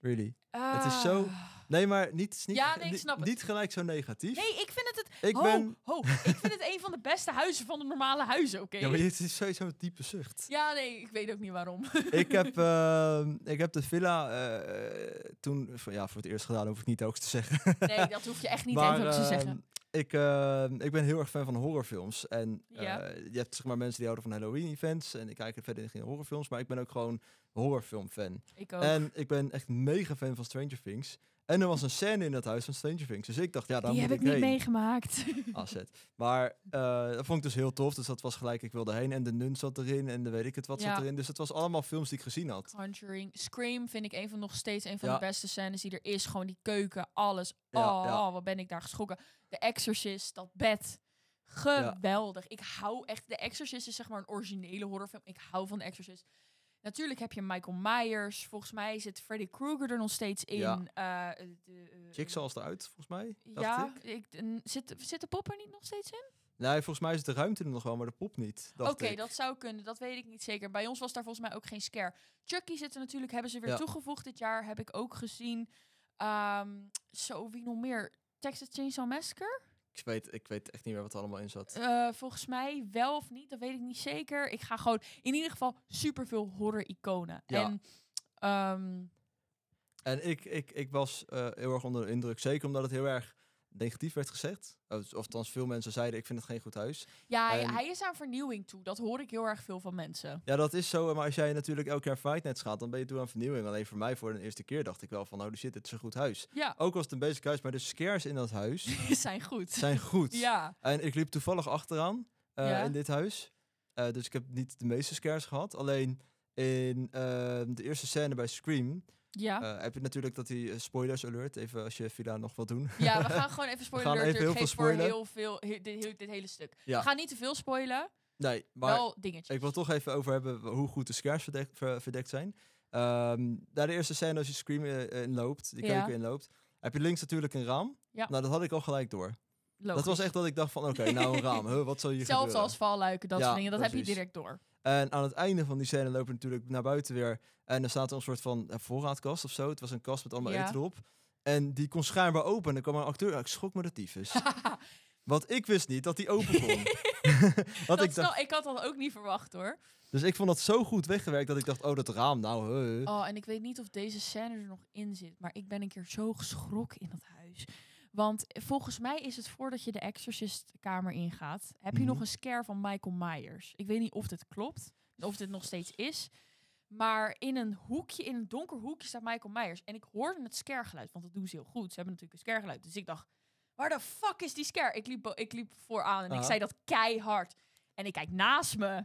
B: Really. Het is zo-
C: Ah.
B: Nee, maar niet, niet,
C: Ja, nee, ik
B: niet-
C: snap het.
B: niet gelijk zo negatief.
C: Nee, ik vind het het...
B: Ik
C: ho,
B: ben...
C: ho, ik vind het een van de beste huizen van de normale huizen, oké?
B: Ja, maar dit is sowieso een diepe zucht.
C: Ja, nee, ik weet ook niet waarom.
B: ik, heb, ehm, ik heb de villa eh, toen... voor- Ja, voor het eerst gedaan, hoef ik niet ook te zeggen.
C: Nee, dat hoef je echt niet
B: Maar,
C: tegen op te
B: ehm,
C: zeggen.
B: Ik, ehm, ik ben heel erg fan van horrorfilms. En
C: Ja.
B: eh, je hebt zeg maar mensen die houden van Halloween-events. En ik kijk er verder geen horrorfilms. Maar ik ben ook gewoon horrorfilm-fan.
C: Ik ook.
B: En ik ben echt mega fan van Stranger Things. En er was een scène in dat huis van Stranger Things. Dus ik dacht, ja, daar
C: Die
B: moet
C: heb ik
B: ik,
C: niet
B: heen.
C: meegemaakt.
B: Asset. Maar eh, dat vond ik dus heel tof. Dus dat was gelijk, ik wilde heen. En de nun zat erin. En de weet ik het wat
C: Ja.
B: zat erin. Dus dat was allemaal films die ik gezien had.
C: Conjuring. Scream vind ik een van, nog steeds een van
B: Ja.
C: de beste scènes die er is. Gewoon die keuken, alles.
B: Ja,
C: oh,
B: ja.
C: oh, wat ben ik daar geschrokken. The Exorcist, dat bed. Geweldig. Ik hou echt... The Exorcist is zeg maar een originele horrorfilm. Ik hou van The Exorcist. Natuurlijk heb je Michael Myers. Volgens mij zit Freddy Krueger er nog steeds in.
B: Ja.
C: Eh, eh, de, eh,
B: Jigsaw is eruit, volgens mij. Dacht
C: Ja,
B: ik.
C: ik, en zit, zit de pop er niet nog steeds in?
B: Nee, volgens mij is de ruimte er nog wel, maar de pop niet.
C: Oké,
B: dacht ik.
C: dat zou kunnen. Dat weet ik niet zeker. Bij ons was daar volgens mij ook geen scare. Chucky zit er natuurlijk, hebben ze weer
B: Ja.
C: toegevoegd dit jaar. Heb ik ook gezien. Ehm, zo, wie nog meer? Texas Chainsaw Massacre?
B: Ik weet, ik weet echt niet meer wat er allemaal in zat.
C: Eh, volgens mij wel of niet, dat weet ik niet zeker. Ik ga gewoon in ieder geval superveel horror-iconen.
B: Ja.
C: En ehm,
B: En ik, ik, ik was eh, heel erg onder de indruk. Zeker omdat het heel erg negatief werd gezegd. Of, of althans, veel mensen zeiden, ik vind het geen goed huis.
C: ja, hij,
B: En-
C: hij is aan vernieuwing toe. Dat hoor ik heel erg veel van mensen.
B: Ja, dat is zo. Maar als jij natuurlijk elk jaar Fight Nights gaat, dan ben je toe aan vernieuwing. Alleen voor mij, voor de eerste keer, dacht ik wel van, nou, shit, dit is een goed huis.
C: Ja,
B: Ook was het een basic huis, maar de scares in dat huis
C: zijn goed.
B: zijn goed.
C: ja.
B: En ik liep toevallig achteraan eh,
C: Ja.
B: in dit huis. Eh, dus ik heb niet de meeste scares gehad. Alleen in eh, de eerste scène bij Scream
C: Ja.
B: eh, heb je natuurlijk dat die eh, spoilers alert. Even als je Villa nog wil doen.
C: Ja, we gaan gewoon even spoilen.
B: gaan even heel veel spoilen.
C: Voor heel veel, he- dit, heel- dit hele stuk.
B: Ja.
C: We gaan niet te veel spoilen,
B: Nee, maar
C: wel dingetjes.
B: Ik wil toch even over hebben w- hoe goed de scares verdekt, ver- verdekt zijn. Ehm na de eerste scène als je Scream eh, inloopt, die
C: Ja.
B: keuken inloopt, heb je links natuurlijk een raam.
C: Ja.
B: Nou, dat had ik al gelijk door.
C: Logisch.
B: Dat was echt dat ik dacht van, oké, nou een raam, huh, wat zal hier
C: Zelfs
B: gebeuren?
C: als valluiken, dat
B: Ja,
C: soort dingen, dat heb je
B: precies.
C: direct door.
B: En aan het einde van die scène lopen we natuurlijk naar buiten weer. En er staat er een soort van eh, voorraadkast of zo. Het was een kast met allemaal
C: Ja.
B: eten erop. En die kon schijnbaar open. En er kwam een acteur. Ah, Ik schrok me de tyfus. Want ik wist niet dat die open kon.
C: Dat
B: Want ik
C: ik,
B: dacht,
C: ik had dat ook niet verwacht hoor.
B: dus ik vond dat zo goed weggewerkt dat ik dacht, oh dat raam, nou. huh.
C: Oh, en ik weet niet of deze scène er nog in zit, maar ik ben een keer zo geschrokken in dat huis. Want volgens mij is het voordat je de Exorcist kamer ingaat, heb je
B: Mhm.
C: nog een scare van Michael Myers. Ik weet niet of dit klopt, of dit nog steeds is. Maar in een hoekje, in een donker hoekje staat Michael Myers. En ik hoorde het scaregeluid, want dat doen ze heel goed. Ze hebben natuurlijk een scaregeluid. Dus ik dacht, waar de fuck is die scare? Ik liep, bo- ik liep vooraan en
B: Aha.
C: ik zei dat keihard. En ik kijk naast me.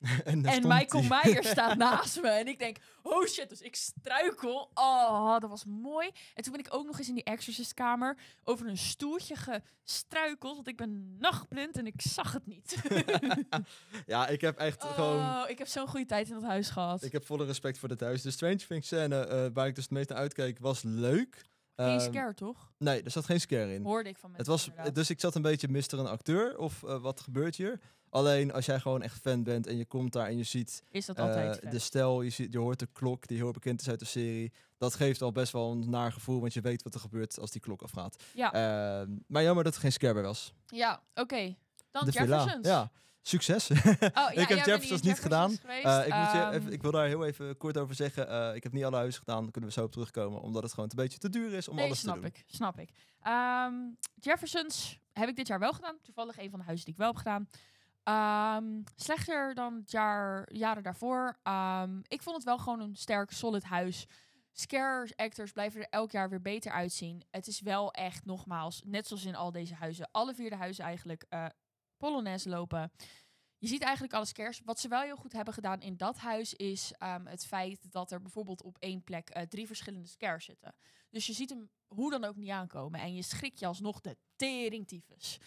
B: en daar
C: en
B: stond
C: Michael
B: hij.
C: Meijer staat naast me. En ik denk, oh shit, dus ik struikel. Oh, dat was mooi. En toen ben ik ook nog eens in die exorcistkamer over een stoeltje gestruikeld. Want ik ben nachtblind en ik zag het niet.
B: Ja, ik heb echt gewoon...
C: Oh, ik heb zo'n goede tijd in dat huis gehad.
B: Ik heb volle respect voor dit huis. De Strange Things scène, eh, waar ik dus het meest naar uitkeek, was leuk.
C: Geen
B: Ehm,
C: scare, toch?
B: Nee, er zat geen scare in.
C: Hoorde ik van
B: Het
C: mensen.
B: was,
C: inderdaad.
B: dus ik zat een beetje mister een acteur of eh, wat gebeurt hier? Alleen als jij gewoon echt fan bent en je komt daar en je ziet
C: Is dat
B: eh,
C: altijd vet.
B: de stijl, je, ziet, je hoort de klok die heel bekend is uit de serie. Dat geeft al best wel een naar gevoel, want je weet wat er gebeurt als die klok afgaat.
C: Ja,
B: Ehm, maar jammer dat er geen scare bij was.
C: ja oké. Dan
B: de
C: Jeffersons.
B: Ja, succes.
C: Oh,
B: heb
C: jij bent
B: Jeffersons
C: in
B: niet gedaan.
C: geweest.
B: Eh, ik, moet je
C: Ehm,
B: even, ik wil daar heel even kort over zeggen. eh, ik heb niet alle huizen gedaan, daar kunnen we zo op terugkomen. Omdat het gewoon een beetje te duur is om
C: nee,
B: alles te
C: snap
B: doen.
C: ik, snap ik. Ehm, Jeffersons heb ik dit jaar wel gedaan. Toevallig een van de huizen die ik wel heb gedaan. Ehm, slechter dan het jaar, jaren daarvoor. Ehm, ik vond het wel gewoon een sterk, solid huis. Scare actors blijven er elk jaar weer beter uitzien. Het is wel echt, nogmaals, net zoals in al deze huizen, alle vier de huizen eigenlijk, eh Polonaise lopen. Je ziet eigenlijk alle scares. Wat ze wel heel goed hebben gedaan in dat huis is ehm, het feit dat er bijvoorbeeld op één plek eh, drie verschillende scares zitten. Dus je ziet hem hoe dan ook niet aankomen. En je schrik je alsnog de teringtyfus.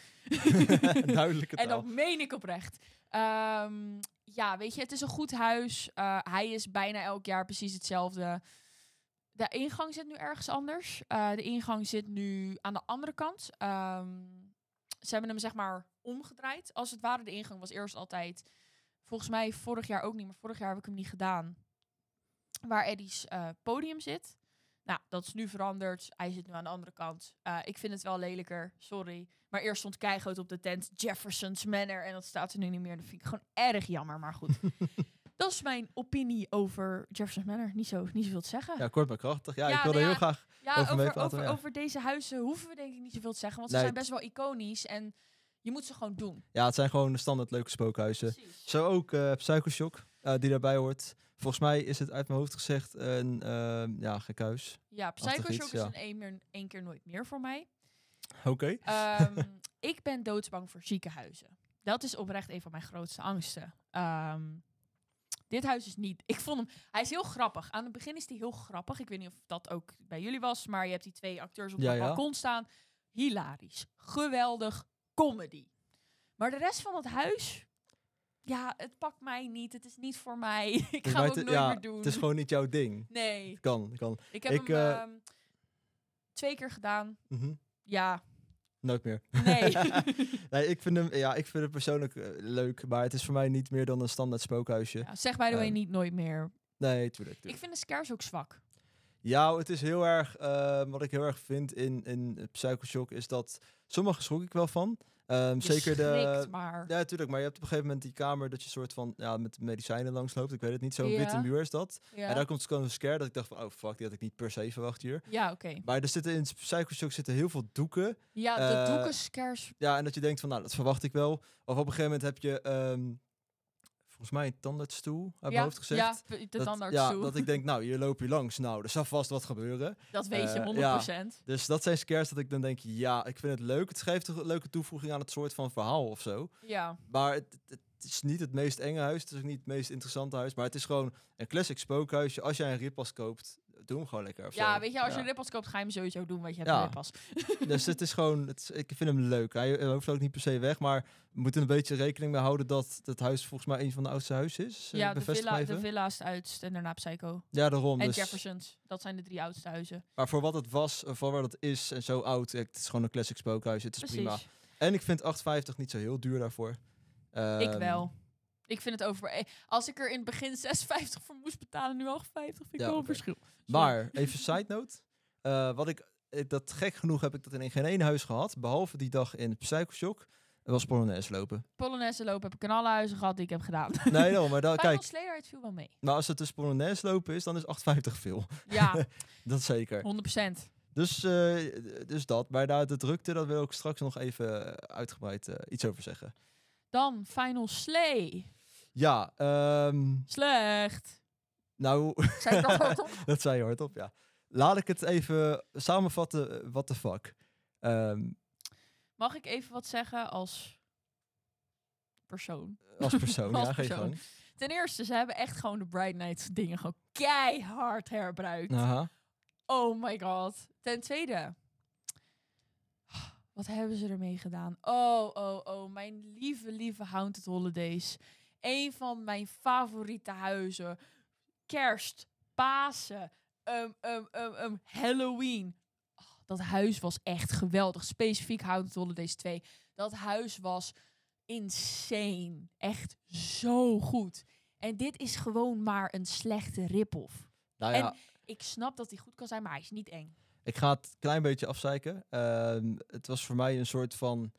B: Duidelijke
C: en
B: taal.
C: dat meen ik oprecht. Ehm, ja, weet je, het is een goed huis. Eh, hij is bijna elk jaar precies hetzelfde. De ingang zit nu ergens anders. Eh, de ingang zit nu aan de andere kant. Ehm, ze hebben hem zeg maar omgedraaid. Als het ware, de ingang was eerst altijd... Volgens mij vorig jaar ook niet, maar vorig jaar heb ik hem niet gedaan. Waar Eddie's eh, podium zit. Nou, dat is nu veranderd. Hij zit nu aan de andere kant. Eh, ik vind het wel lelijker, sorry. Maar eerst stond keihard op de tent Jefferson's Manor. En dat staat er nu niet meer. Dat vind ik gewoon erg jammer, maar goed. dat is mijn opinie over Jefferson's Manor. Niet zo, niet zoveel te zeggen. Ja,
B: Ja, kort maar krachtig. Ja,
C: Ja,
B: ik wilde
C: nou
B: heel
C: ja,
B: graag... over
C: over,
B: mee
C: over,
B: praten,
C: over,
B: ja.
C: deze huizen hoeven we denk ik niet zoveel te zeggen. Want ze
B: Nee.
C: zijn best wel iconisch. En je moet ze gewoon doen.
B: Ja, het zijn gewoon de standaard leuke spookhuizen.
C: Precies.
B: Zo ook eh Psycho Shock, eh, die daarbij hoort. Volgens mij is het uit mijn hoofd gezegd een eh, ja, gek huis.
C: Ja,
B: Achtig
C: Psycho
B: iets,
C: Shock is
B: ja.
C: een één meer- één keer nooit meer voor mij.
B: Oké.
C: Ehm, ik ben doodsbang voor ziekenhuizen. Dat is oprecht een van mijn grootste angsten. Ehm, dit huis is niet. Ik vond hem. Hij is heel grappig. Aan het begin is hij heel grappig. Ik weet niet of dat ook bij jullie was, maar je hebt die twee acteurs op
B: Ja,
C: het
B: ja.
C: balkon staan. Hilarisch. Geweldig. Comedy. Maar de rest van het huis. Ja, het pakt mij niet. Het is niet voor mij. Ik ga hem ook nooit
B: ja,
C: meer doen.
B: Het is gewoon niet jouw ding.
C: Nee.
B: Kan, kan.
C: Ik heb
B: Ik,
C: hem
B: eh,
C: ehm, twee keer gedaan.
B: Mhm.
C: Ja.
B: Nooit meer.
C: Nee.
B: Nee, ik vind hem, ja, ik vind het persoonlijk eh, leuk, maar het is voor mij niet meer dan een standaard spookhuisje.
C: Ja, zeg by the way
B: Ehm,
C: niet nooit meer.
B: Nee, tuurlijk. tuurlijk.
C: Ik vind de scares ook zwak.
B: Ja, het is heel erg. eh, wat ik heel erg vind in, in Psycho Shock is dat. Sommige schrok ik wel van. Ehm,
C: Je
B: zeker de.
C: schrikt maar.
B: Ja, natuurlijk. Maar je hebt op een gegeven moment die kamer dat je soort van. Ja, met medicijnen langs loopt. Ik weet het niet. Zo'n
C: Ja.
B: witte muur is dat.
C: Ja,
B: En daar komt zo'n scare dat ik dacht van. Oh fuck, die had ik niet per se verwacht hier.
C: Ja, oké.
B: Maar er zitten in Psycho Shock zitten heel veel doeken.
C: Ja, de
B: Eh,
C: doeken scares.
B: Ja, en dat je denkt van, nou, dat verwacht ik wel. Of op een gegeven moment heb je, ehm, volgens mij, een tandartsstoel uit
C: ja,
B: mijn hoofd gezegd.
C: Ja, de
B: dat,
C: tandarts
B: ja,
C: toe.
B: dat ik denk, nou, hier loop je langs. Nou, er zal vast wat gebeuren.
C: Dat weet je
B: eh,
C: 100%.
B: ja. Dus dat zijn scares dat ik dan denk, ja, ik vind het leuk. Het geeft een leuke toevoeging aan het soort van verhaal of zo.
C: ja.
B: Maar het, het is niet het meest enge huis. Het is ook niet het meest interessante huis. Maar het is gewoon een classic spookhuisje. Als jij een rippas koopt, doe hem gewoon lekker. Of
C: ja,
B: zo.
C: weet je, als
B: Ja.
C: je rippas koopt, ga je hem sowieso doen, want je hebt
B: Ja.
C: een rippas.
B: Dus het is gewoon, het is- ik vind hem leuk. Hij eh, hoeft ook niet per se weg, maar we moeten een beetje rekening mee houden dat het huis volgens mij een van de oudste huizen is. Eh,
C: Ja, de,
B: bevestig
C: villa,
B: mij
C: de
B: even.
C: villa's uit en daarna Psycho.
B: Ja, daarom.
C: en
B: dus-
C: Jeffersons. Dat zijn de drie oudste huizen.
B: maar voor wat het was, eh, voor wat het is en zo oud, eh, het is gewoon een classic spookhuis. Het is
C: Precies.
B: prima. En ik vind 8,50 niet zo heel duur daarvoor.
C: Ik
B: Ehm,
C: wel. Ik vind het over... eh, Als ik er in het begin 6,50 voor moest betalen, nu al 50, vind ik
B: Ja,
C: wel een
B: oké.
C: verschil.
B: Maar even side note. Eh, wat ik, ik- dat gek genoeg heb ik dat in geen één huis gehad, behalve die dag in Psycho Shock. Er was Polonaise lopen.
C: Polonaise lopen heb ik in alle huizen gehad die ik heb gedaan.
B: Nee, daarom, maar dan,
C: Final
B: Oh, kijk,
C: Slayer, het viel wel mee.
B: maar als het dus Polonaise lopen is, dan is 8,50 veel.
C: Ja,
B: Dat zeker.
C: 100%.
B: Dus, eh, d- dus dat. Maar daar de drukte, daar wil ik straks nog even eh, uitgebreid eh, iets over zeggen.
C: Dan Final Slay.
B: Ja, ehm,
C: Slecht.
B: nou,
C: Zei ik dat hardop?
B: dat zei je hardop, ja. Laat ik het even samenvatten, eh, what the fuck. Ehm,
C: Mag ik even wat zeggen als persoon?
B: als persoon,
C: Als
B: ja, geen
C: persoon.
B: gang.
C: Ten eerste, ze hebben echt gewoon de Bright Nights dingen gewoon keihard herbruikt.
B: Aha.
C: Oh my god. Ten tweede. Wat hebben ze ermee gedaan? Oh, oh, oh. Mijn lieve, lieve Haunted Holidays. Een van mijn favoriete huizen. Kerst, Pasen, um, um, um, um, Halloween. Oh, dat huis was echt geweldig. Specifiek Haunted Holidays 2. Dat huis was insane. Echt zo goed. En dit is gewoon maar een slechte rip-off.
B: Nou ja,
C: Ik snap dat hij goed kan zijn, maar hij is niet eng.
B: ik ga het klein beetje afzeiken. Ehm, het was voor mij een soort van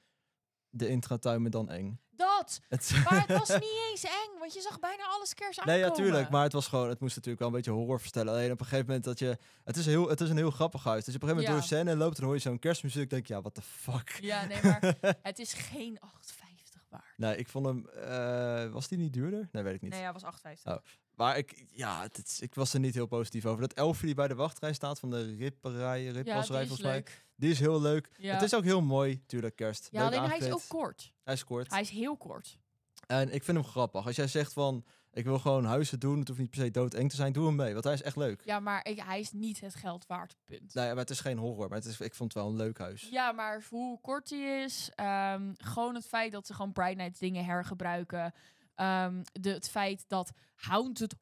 B: de intratuin, maar dan eng.
C: Dat!
B: Het-
C: Maar het was niet eens eng, want je zag bijna alles kerst aankomen.
B: Nee, natuurlijk. Maar het was gewoon, het moest natuurlijk wel een beetje horror vertellen. Alleen op een gegeven moment dat je. Het is, heel, het is een heel grappig huis. Dus op een gegeven moment
C: Ja.
B: door een scène loopt en hoor je zo'n kerstmuziek. Denk je, ja, what the fuck.
C: Ja, nee, maar het is geen 8,50 waard.
B: Nee, ik vond hem. eh, was die niet duurder? Nee, weet ik niet.
C: Nee, hij was 8,50.
B: Oh. Maar ik, ja, het is- ik was er niet heel positief over. Dat elfje die bij de wachtrij staat van de ripperij,
C: ja, die
B: ripwasserij
C: is
B: volgens mij.
C: leuk.
B: Die is heel leuk.
C: Ja,
B: Het is ook heel mooi, tuurlijk, kerst.
C: ja
B: Leuk
C: alleen hij is
B: aangekleed.
C: ook kort.
B: Hij is kort.
C: Hij is heel kort.
B: En ik vind hem grappig. Als jij zegt van, ik wil gewoon huizen doen, het hoeft niet per se doodeng te zijn, doe hem mee. Want hij is echt leuk.
C: Ja, maar ik, hij is niet het geld waard, punt.
B: Nou ja, maar het is geen horror, maar het is, ik vond het wel een leuk huis.
C: Ja, maar hoe kort hij is. ehm, gewoon het feit dat ze gewoon Bright Nights dingen hergebruiken. Ehm, de, het feit dat Haunted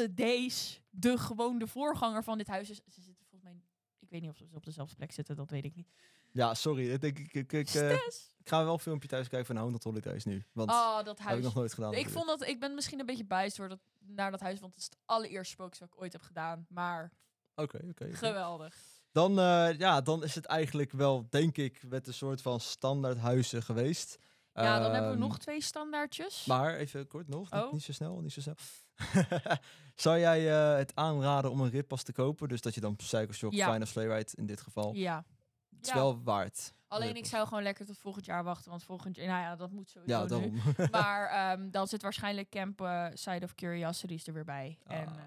C: Holidays de, gewoon de voorganger van dit huis is. Ze zitten volgens mij... Ik weet niet of ze op dezelfde plek zitten, dat weet ik niet.
B: Ja, sorry. Ik, denk, ik, ik, ik, eh,
C: Stress!
B: ik ga wel een filmpje thuis kijken van Haunted Holidays nu. Want
C: Oh, dat
B: dat heb ik
C: huis.
B: nog nooit gedaan.
C: Ik,
B: natuurlijk.
C: vond dat, ik ben misschien een beetje biased door dat, naar dat huis, want het is het allereerste spookje wat ik ooit heb gedaan. Maar
B: Oké, oké. oké.
C: geweldig.
B: Dan, eh, ja, dan is het eigenlijk wel, denk ik, met een soort van standaard huizen geweest.
C: ja, dan hebben we
B: Ehm,
C: nog twee standaardjes.
B: Maar even kort nog, niet,
C: Oh.
B: niet zo snel, niet zo snel. Zou jij eh, het aanraden om een rippas te kopen? Dus dat je dan Psycho Shock,
C: Ja.
B: Final Sleigh Ride in dit geval.
C: ja. Oh,
B: Het is
C: Ja.
B: wel waard.
C: Alleen ik
B: Ripples.
C: zou gewoon lekker tot volgend jaar wachten, want volgend jaar, nou ja, dat moet sowieso
B: Ja,
C: nu.
B: daarom.
C: Maar ehm, dan zit waarschijnlijk Camp eh, Side of Curiosities er weer bij. En,
B: Ah.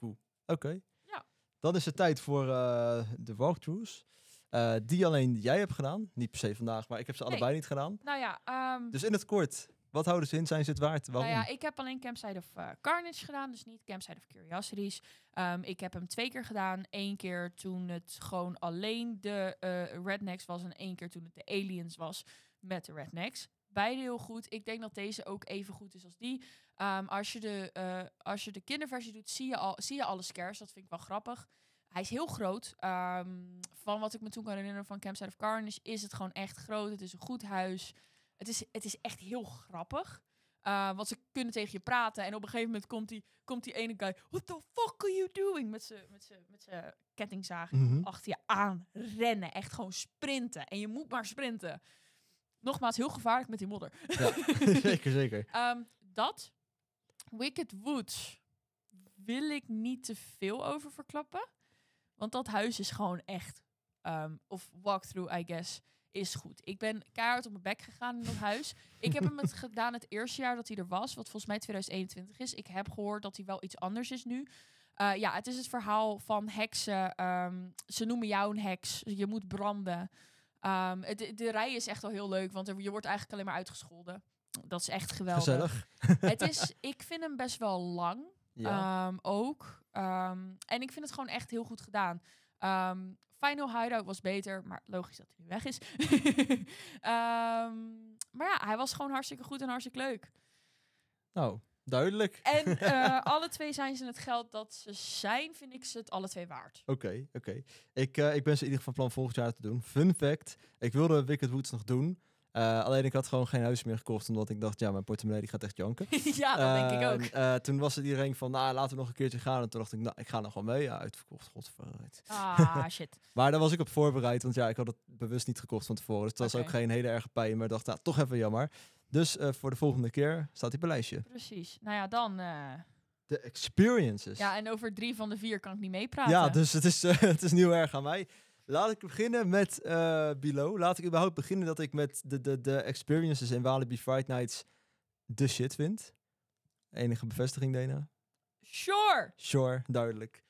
C: ehm,
B: Oké.
C: Ja.
B: Dan is het tijd voor eh, de walkthroughs. Eh, die alleen jij hebt gedaan. Niet per se vandaag, maar ik heb ze
C: Nee.
B: allebei niet gedaan.
C: nou ja, ehm,
B: Dus in het kort, wat houden ze in? Zijn ze het waard?
C: nou
B: Waarom?
C: ja, ik heb alleen Camp Side of eh, Carnage gedaan, dus niet Camp Side of Curiosities. Ehm, ik heb hem twee keer gedaan. Eén keer toen het gewoon alleen de eh, Rednecks was en één keer toen het de Aliens was met de Rednecks. Beide heel goed. Ik denk dat deze ook even goed is als die. Ehm, als, je de, eh, als je de kinderversie doet, zie je, al, zie je alle scares. Dat vind ik wel grappig. Hij is heel groot. Ehm, van wat ik me toen kan herinneren van Campsite of Carnage is het gewoon echt groot. Het is een goed huis. Het is, het is echt heel grappig. Eh, want ze kunnen tegen je praten. En op een gegeven moment komt die, komt die ene guy... What the fuck are you doing? Met zijn met z'n- met z'n kettingzaag
B: Mhm.
C: achter je aan rennen. Echt gewoon sprinten. En je moet maar sprinten. Nogmaals, heel gevaarlijk met die modder.
B: Ja, zeker, zeker.
C: Ehm, dat. Wicked Woods wil ik niet te veel over verklappen. Want dat huis is gewoon echt. ehm, of walkthrough, I guess. Is goed. Ik ben keihard op mijn bek gegaan in dat huis. Ik heb hem het gedaan het eerste jaar dat hij er was. Wat volgens mij 2021 is. Ik heb gehoord dat hij wel iets anders is nu. Eh, ja, het is het verhaal van heksen. ehm, ze noemen jou een heks. Je moet branden. Ehm, het- de, de rij is echt wel heel leuk. Want er- je wordt eigenlijk alleen maar uitgescholden. Dat is echt geweldig.
B: Gezellig.
C: Het is, ik vind hem best wel lang.
B: Ja.
C: Ehm, ook. Ehm, en ik vind het gewoon echt heel goed gedaan. Ehm, Final Hideout was beter, maar logisch dat hij nu weg is. Ehm, maar ja, hij was gewoon hartstikke goed en hartstikke leuk.
B: Nou, duidelijk.
C: En eh, alle twee zijn ze het geld dat ze zijn, vind ik ze het alle twee waard.
B: Oké, oké. Ik, eh, ik ben ze in ieder geval van plan volgend jaar te doen. Fun fact, ik wilde Wicked Woods nog doen. Eh, alleen ik had gewoon geen huis meer gekocht, omdat ik dacht, ja, mijn portemonnee die gaat echt janken.
C: ja, dat denk ik
B: Eh,
C: ook.
B: eh, toen was het iedereen van, nou, laten we nog een keertje gaan. En toen dacht ik, nou, ik ga nog wel mee. Ja, uitverkocht, godverdomme.
C: Ah, shit.
B: Maar daar was ik op voorbereid, want ja, ik had het bewust niet gekocht van tevoren. Dus dat was
C: Oké.
B: ook geen hele erge pijn, maar ik dacht, nou, toch even jammer. Dus eh, voor de volgende keer staat hij op een lijstje.
C: Precies. Nou ja, dan. eh,
B: De experiences.
C: ja, en over drie van de vier kan ik niet meepraten.
B: Dus Ja, dus het is, eh, het is nieuw erg aan mij. Laat ik beginnen met eh Below. Laat ik überhaupt beginnen dat ik met de, de, de experiences in Walibi Fright Nights de shit vind. Enige bevestiging, Dana?
C: Sure.
B: Sure, duidelijk.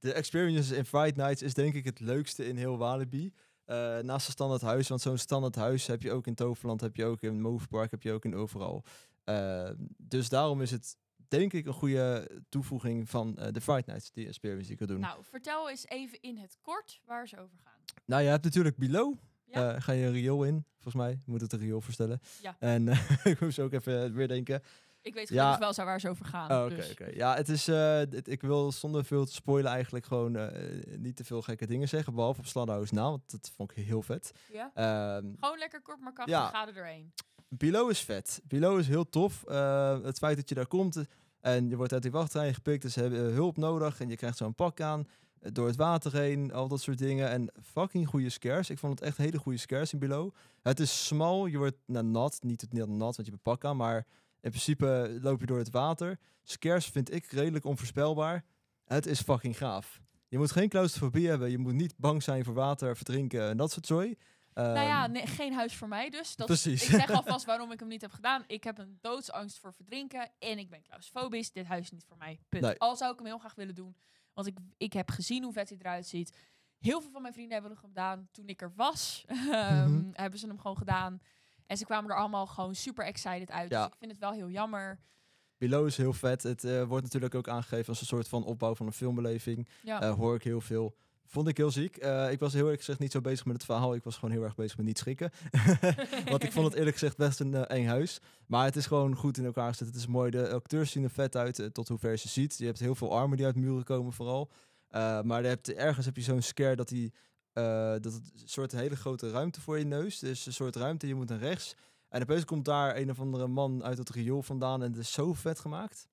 B: De experiences in Fright Nights is denk ik het leukste in heel Walibi. Eh, naast een standaard huis, want zo'n standaard huis heb je ook in Toverland, heb je ook in Move Park, heb je ook in overal. Eh, dus daarom is het denk ik een goede toevoeging van eh, de Fright Nights die Spearmint kan doen. Nou.
C: Nou, vertel eens even in het kort waar ze over gaan.
B: je hebt Nou natuurlijk Below.
C: Ja.
B: Eh, ga je een riool in, volgens mij. Je moet het een riool voorstellen.
C: Ja.
B: En eh, ik moest ook even weer denken.
C: Ik weet
B: Ja.
C: gelukkig wel zo waar ze over gaan.
B: Oh, Oké,
C: dus.
B: oké. Ja, het is. eh, dit- ik wil zonder veel te spoilen eigenlijk gewoon eh, niet te veel gekke dingen zeggen. Behalve op Sladderhouse na, want dat vond ik heel vet.
C: Ja.
B: Ehm
C: Gewoon lekker kort maar krachtig,
B: Ja.
C: ga er doorheen.
B: Below is vet. Below is heel tof. Eh, het feit dat je daar komt eh, en je wordt uit die wachtrij gepikt, dus ze hebben eh, hulp nodig en je krijgt zo'n pak aan. eh, Door het water heen, al dat soort dingen. En fucking goede scares. Ik vond het echt hele goede scares in Below. Het is smal, je wordt nou, nat. Niet het niet nat, want je hebt een pak aan. Maar in principe loop je door het water. Scares vind ik redelijk onvoorspelbaar. Het is fucking gaaf. Je moet geen claustrofobie hebben. Je moet niet bang zijn voor water, verdrinken en dat soort zooi.
C: nou ja,
B: Ehm,
C: nee, geen huis voor mij dus. Dat is-
B: precies.
C: ik zeg alvast waarom ik hem niet heb gedaan. Ik heb een doodsangst voor verdrinken en ik ben claustrofobisch. Dit huis is niet voor mij. Punt.
B: Nee.
C: Al zou ik hem heel graag willen doen, want ik, ik heb gezien hoe vet hij eruit ziet. Heel veel van mijn vrienden hebben hem gedaan toen ik er was. Ehm,
B: Mhm.
C: Hebben ze hem gewoon gedaan. En ze kwamen er allemaal gewoon super excited uit.
B: Ja.
C: Dus ik vind het wel heel jammer.
B: Below is heel vet. Het eh, wordt natuurlijk ook aangegeven als een soort van opbouw van een filmbeleving.
C: Ja.
B: Eh, hoor ik heel veel. Vond ik heel ziek. Eh, ik was heel eerlijk gezegd niet zo bezig met het verhaal. Ik was gewoon heel erg bezig met niet schrikken. Eh, Want ik vond het eerlijk gezegd best een eh, eng huis. Maar het is gewoon goed in elkaar gezet. Het is mooi. De acteurs zien er vet uit eh, tot hoever je ze ziet. Je hebt heel veel armen die uit muren komen vooral. Eh, maar je hebt, ergens heb je zo'n scare dat, die, eh, dat het een soort hele grote ruimte voor je neus. Dus een soort ruimte, je moet naar rechts. En opeens komt daar een of andere man uit het riool vandaan. En het is zo vet gemaakt.